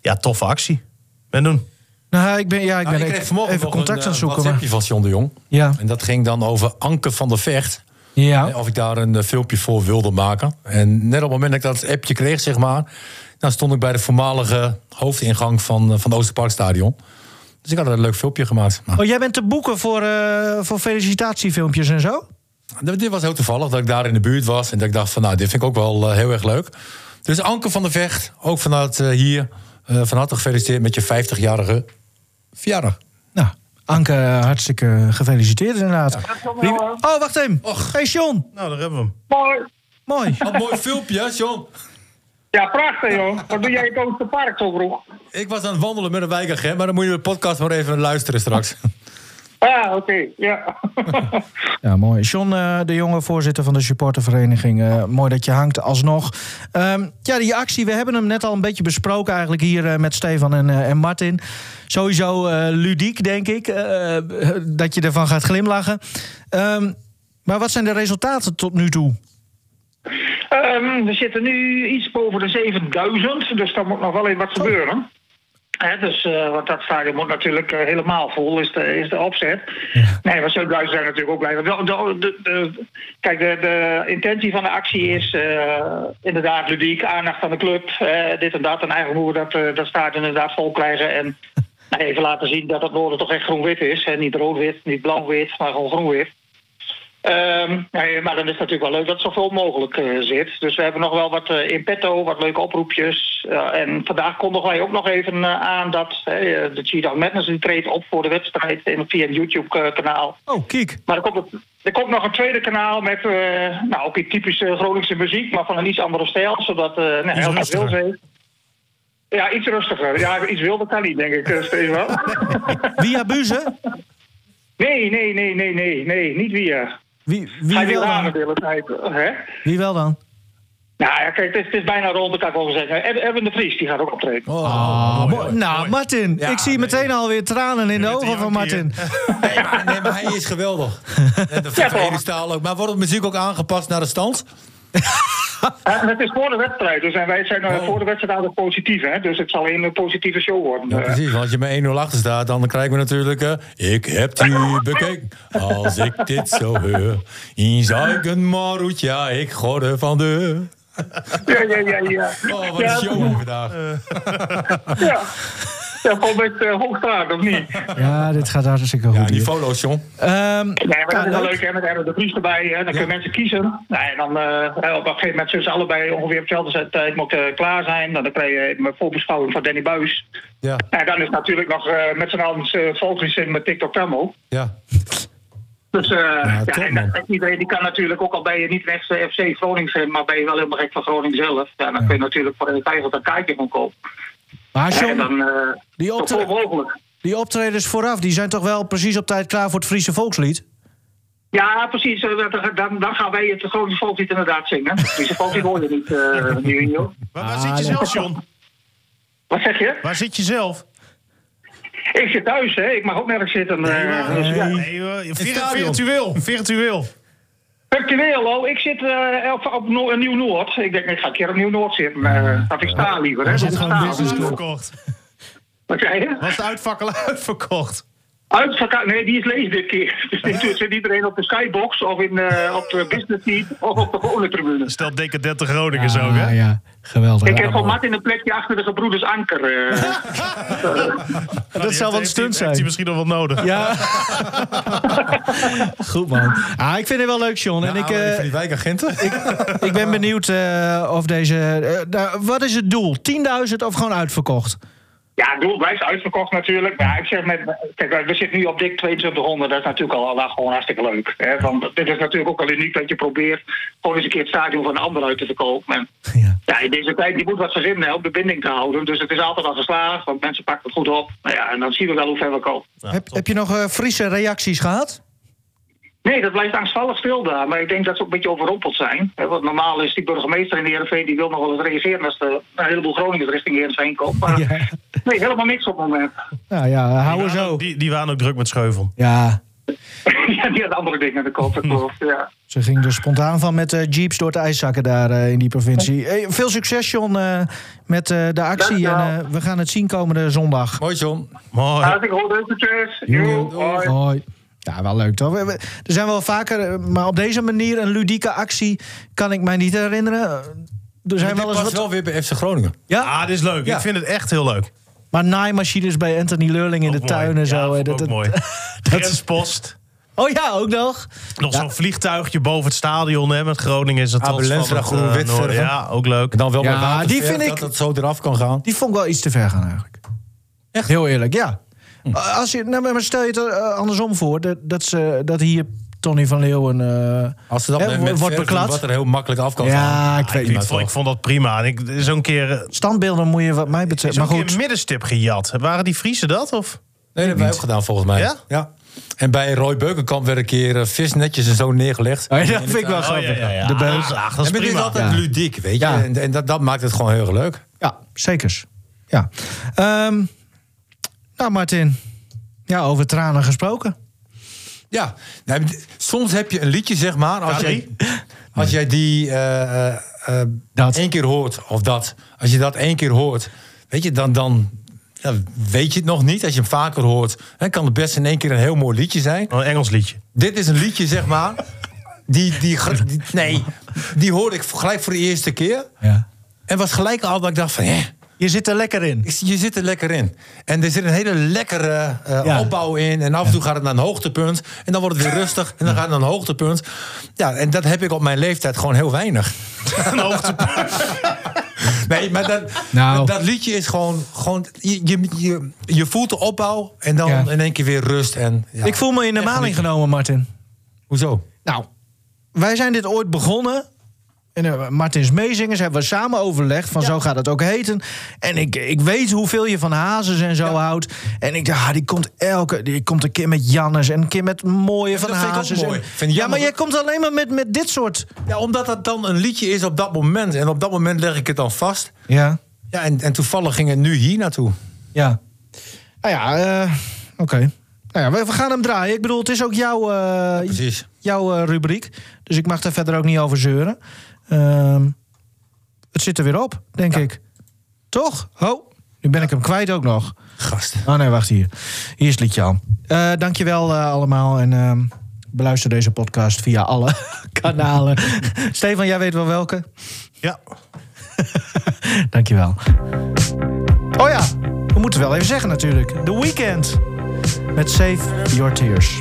ja, toffe actie. Ben doen.
Nou, ik ben, ja, ik ben
Nou, ik
even-
kreeg vanmorgen
even
nog
contact
een,
aan het
eh,
zoeken. maar-
WhatsAppje van John de Jong.
Ja.
En dat ging dan over Anke van der Vecht.
Ja.
Hè, Of ik daar een eh, filmpje voor wilde maken. En net op het moment dat ik dat appje kreeg, zeg maar... Dan stond ik bij de voormalige hoofdingang van, eh, van het Oosterparkstadion. Dus ik had een leuk filmpje gemaakt. Maar
Oh, jij bent te boeken voor, eh, voor felicitatiefilmpjes en zo?
d- dit was heel toevallig dat ik daar in de buurt was. En dat ik dacht van, nou, dit vind ik ook wel eh, heel erg leuk. Dus Anke van der Vecht, ook vanuit eh, hier... eh, van harte gefeliciteerd met je 50-jarige verjaardag.
Nou, Anke, eh, hartstikke gefeliciteerd inderdaad. Prima. Oh, wacht even. Hey, John.
Nou, daar hebben we hem.
Mooi.
Mooi.
Wat een mooi filmpje, hè, John.
Ja, prachtig joh. Wat doe jij in het Oosterpark zo vroeg?
Ik was aan het wandelen met een wijkagent, maar dan moet je de podcast maar even luisteren straks.
Ah, oké. Ja.
Ja, mooi. John eh, de Jonge, voorzitter van de supportervereniging. Eh, mooi dat je hangt alsnog. Ehm, ja, die actie, we hebben hem net al een beetje besproken eigenlijk hier eh, met Stefan en, eh, en Martin. Sowieso eh, ludiek, denk ik, eh, dat je ervan gaat glimlachen. Ehm, maar wat zijn de resultaten tot nu toe?
Ehm, we zitten nu iets boven de 7000, dus daar moet nog wel even wat gebeuren. Hè, dus, eh, want dat stadion moet natuurlijk eh, helemaal vol, is de, is de opzet. Nee, maar 7000 zijn natuurlijk ook blij. Want De, de, de, de- kijk, de, de intentie van de actie is eh, inderdaad ludiek, aandacht aan de club, eh, dit en dat. En eigenlijk moeten we dat, eh, dat stadion inderdaad vol krijgen. En nou, even laten zien dat het noorden toch echt groen-wit is. Hè? Niet rood-wit, niet blauw-wit, maar gewoon groen-wit. Ehm, nee, maar dan is het natuurlijk wel leuk dat zoveel mogelijk eh, zit. Dus we hebben nog wel wat eh, in petto, wat leuke oproepjes. Ja, en vandaag kondigen wij ook nog even eh, aan dat hè, eh, de Cheetah Madness die treedt op voor de wedstrijd in, via een YouTube-kanaal.
Oh, kijk.
Maar er komt, een- er komt nog een tweede kanaal met eh, nou, ook die typische Groningse muziek, maar van een iets andere stijl, zodat eh nou, Helga
rustiger.
Wils heeft. Ja, iets rustiger. Ja, iets wilder kan niet, denk ik, eh, steeds wel.
Via Buzen?
Nee, nee, nee, nee, nee, nee, niet weer.
Wie,
Hij
wie,
wil
wel
aan
dan?
de hele tijd, hè?
wie wel dan?
Nou ja, kijk, het is, het is bijna rond, dat kan ik wel zeggen. Eb- Erwin de Vries, die gaat ook optreden.
Oh,
Ah, mooi. nou,
mooi.
Martin,
Ja,
ik
nee.
zie meteen alweer tranen in de
Witte
ogen van
Jankie,
Martin.
Nee, maar, nee, maar hij is geweldig. En de
Ja,
Verenigde
toch?
Staal ook. Maar wordt de muziek ook aangepast naar de stand?
Ja, Eh, het is voor de wedstrijd, dus en wij zijn eh,
Oh.
voor de wedstrijd altijd positief, hè? Dus het zal alleen een positieve show worden.
Ja,
Eh,
precies. Want als je met 1-0 achter staat, dan krijgen we natuurlijk... eh, ik heb u bekeken, als ik dit zo hoor. In zuigen maroet, ja, ik gorde van de...
Ja, ja, ja, ja.
Oh, wat
ja,
een show vandaag.
Ja. Ja, gewoon met eh hoogstaat, of niet?
Ja, dit gaat hartstikke goed.
Ja,
hier.
die foto's, John.
Ehm,
Nee, maar dat is wel
leuk.
leuk, hè? Met Erwin de Vries erbij, hè? Dan kunnen mensen kiezen. Nou, en dan eh, op een gegeven moment zullen ze allebei ongeveer op dezelfde eh, tijd moeten klaar zijn. Dan krijg je een voorbeschouwing van Danny Buis.
Ja,
En dan is natuurlijk nog eh, met z'n allen uh, volgens in met TikTok Tammo.
ja.
Dus eh, ja,
top,
en
man.
dat- iedereen die kan natuurlijk ook al bij je niet rechts eh, FC Groningen zijn, maar ben je wel helemaal gek van Groningen zelf. Ja, dan kun je natuurlijk voor een vijftig een kaartje gaan kopen.
Maar
Ja, en
John,
dan eh
die,
zoveel
optre-
mogelijk.
die optredens vooraf, die zijn toch wel precies op tijd klaar voor het Friese volkslied?
Ja, precies. eh, dat- Dan, dan gaan wij het Groningen volkslied inderdaad zingen. Dus het volkslied hoor je niet, eh nu, joh.
Waar, waar zit je zelf, John?
Wat zeg je?
Waar zit je zelf?
Ik zit thuis, hè. Ik mag ook nergens zitten. eh, dus ja.
Nee, joh, vir-
stadion.
virtueel. Virtueel.
Virtueel, oh, ik zit eh, op, op Noor- Nieuw-Noord. Ik denk, ik ga een keer op Nieuw-Noord zitten. maar dat ik sta liever, hè. Dat ik sta.
dus
Uitverkocht.
Wat zei je?
Was de uitvakkel uitverkocht?
Uitverka- nee, die is leeg dit keer. Dus dit doet- zit iedereen op de skybox of in, eh, op de business seat of op de gewone tribune.
Stelt decadente Groningen zo, hè?
Ah, ja, geweldig.
Ik heb voor Martin een plekje achter de gebroeders Anker. eh.
dat zou wel een stunt
Heeft hij
zijn.
misschien nog wel nodig.
Ja. Goed, man. Ah, ik vind het wel leuk, John. En ik, eh,
van die wijkagenten.
ik ben benieuwd eh, of deze... eh, nou, wat is het doel? 10.000 of gewoon uitverkocht?
Ja, het doel blijft uitverkocht natuurlijk. Maar ik zeg met, kijk, we zitten nu op dik 2200. Dat is natuurlijk al, al gewoon hartstikke leuk. Hè? Want dit is natuurlijk ook al uniek dat je probeert gewoon eens een keer het stadion van een ander uit te verkopen. En,
Ja.
ja, in deze tijd, je moet wat verzinnen hè, om de binding te houden. Dus het is altijd al geslaagd, want mensen pakken het goed op. Nou ja, en dan zien we wel hoe ver we komen.
Nou,
heb, heb je nog eh, Friese reacties gehad?
Nee, dat blijft angstvallig stil daar. Maar ik denk dat ze ook een beetje overrompeld zijn. Hè, Want normaal is die burgemeester in Heerenveen... die wil nog wel eens reageren als er een heleboel Groningen richting Heerenveen komt. Maar
Ja.
nee, helemaal niks op het moment.
Nou ja,
Die
houden
waren
zo.
ook- Die, die waren ook druk met scheuvel.
Ja,
ja, die had andere dingen in de kop, dat klopt. Ja.
ze ging er spontaan van met eh, jeeps door het ijszakken daar eh, in die provincie. Hey, veel succes, John, eh, met eh, de actie. En,
Dankjewel.
eh, we gaan het zien komende zondag.
Mooi, John.
Mooi.
Hartelijk hoor, succes. Joe, hoi.
Hoi. Ja, wel leuk toch? We- we- Er zijn wel vaker, eh, maar op deze manier een ludieke actie kan ik mij niet herinneren. Eh, Er zijn
Dit
wel eens
past
wat.
wel weer bij FC Groningen.
Ja,
Ah, dit is leuk.
Ja. Oh,
Ik vind het echt heel leuk.
maar naaimachines bij Anthony Leurling in de
Ook
tuin
mooi.
en zo.
Ja,
eh,
vond ik
dat-
ook
dat-
mooi. Grenspost.
Oh ja, ook nog.
Nog zo'n vliegtuigje boven het stadion. Hè, met Groningen is dat
Ah,
dan
Belenstra, groen, wit verven.
eh, Ja, ook leuk.
En dan wel
Ja,
met waterverf,
die vind ik-
dat het zo eraf kan gaan.
Die vond ik wel iets te ver gaan eigenlijk. Echt? Heel eerlijk, ja. Eh, Als je, nou, maar stel je het er, eh, andersom voor, dat, dat, ze, dat hier Tony van Leeuwen. eh,
Als ze dat
hè,
met,
wo-
met
wordt
verf doen,
beklad.
wat er heel makkelijk af kan gaan.
ja, ik weet
Ik,
niet.
vond, ik vond dat prima. En ik, zo'n keer, eh,
Standbeelden moet je, wat mij betreft.
zo'n
Maar
keer een
goed,
middenstip gejat. Waren die Friesen dat? Of?
Nee, dat hebben wij ook gedaan volgens mij.
Ja?
En bij Roy Beukenkamp werd een keer eh, visnetjes en zo neergelegd.
Oh, ja, dat vind ik wel
Oh, ja,
grappig.
ja, ja.
De
Ah,
beul.
dat is- ah, dat is
en het is
prima.
altijd
Ja.
ludiek, weet je.
Ja.
En, en dat, dat maakt het gewoon heel erg leuk.
Ja, zekers. Ja. Ehm, nou, Martin. Ja, over tranen gesproken.
Ja, nou, d- soms heb je een liedje, zeg maar. Als, jij,
K3?
als jij die eh, eh, eh,
Dat.
één keer hoort, of dat. Als je dat één keer hoort, weet je, dan, dan ja, weet je het nog niet. Als je hem vaker hoort, hè, kan het best in één keer een heel mooi liedje zijn.
Een Oh, Engels liedje.
Dit is een liedje, zeg maar. Die, die, gr- die- nee, die hoorde ik gelijk voor de eerste keer.
Ja.
En was gelijk al dat ik dacht van, hè,
Je zit er lekker in.
ik- je zit er lekker in. En er zit een hele lekkere eh,
Ja.
opbouw in. En af en toe gaat het naar een hoogtepunt. En dan wordt het weer rustig. En dan gaat het naar een hoogtepunt. Ja, en dat heb ik op mijn leeftijd gewoon heel weinig.
Een hoogtepunt.
Nee, maar dat,
Nou.
dat liedje is gewoon... gewoon je, je, je, je voelt de opbouw en dan
Ja.
in één keer weer rust. En, ja.
Ik voel me in de maling genomen, Martin.
Hoezo?
Nou, wij zijn dit ooit begonnen. En eh, Martins Meezingers hebben we samen overlegd. Van zo gaat het ook heten. En ik, ik weet hoeveel je van Hazes en zo houdt. En ik dacht, ah, die komt elke. Die komt een keer met Jannes. En een keer met mooie van
dat vind ik ook
Hazes. en-
mooi. Vind
ja,
Jannes
maar jij
ook-
komt alleen maar met, met dit soort.
Ja, omdat dat dan een liedje is op dat moment. En op dat moment leg ik het dan vast.
Ja.
Ja, en, en toevallig ging het nu hier naartoe.
Ja. Nou ja, eh, oké. Nou ja, we, we gaan hem draaien. Ik bedoel, het is ook jouw, eh,
Precies.
jouw eh, rubriek. Dus ik mag daar verder ook niet over zeuren. Ehm, het zit er weer op, denk ik. Toch? Ho, nu ben ik hem kwijt ook nog.
Gast.
Oh nee, wacht hier. Hier is het liedje al. Eh dankjewel eh, allemaal en ehm, beluister deze podcast via alle kanalen. Stefan, jij weet wel welke.
Ja.
Dankjewel. Oh ja, we moeten wel even zeggen natuurlijk. The Weekend met Save Your Tears.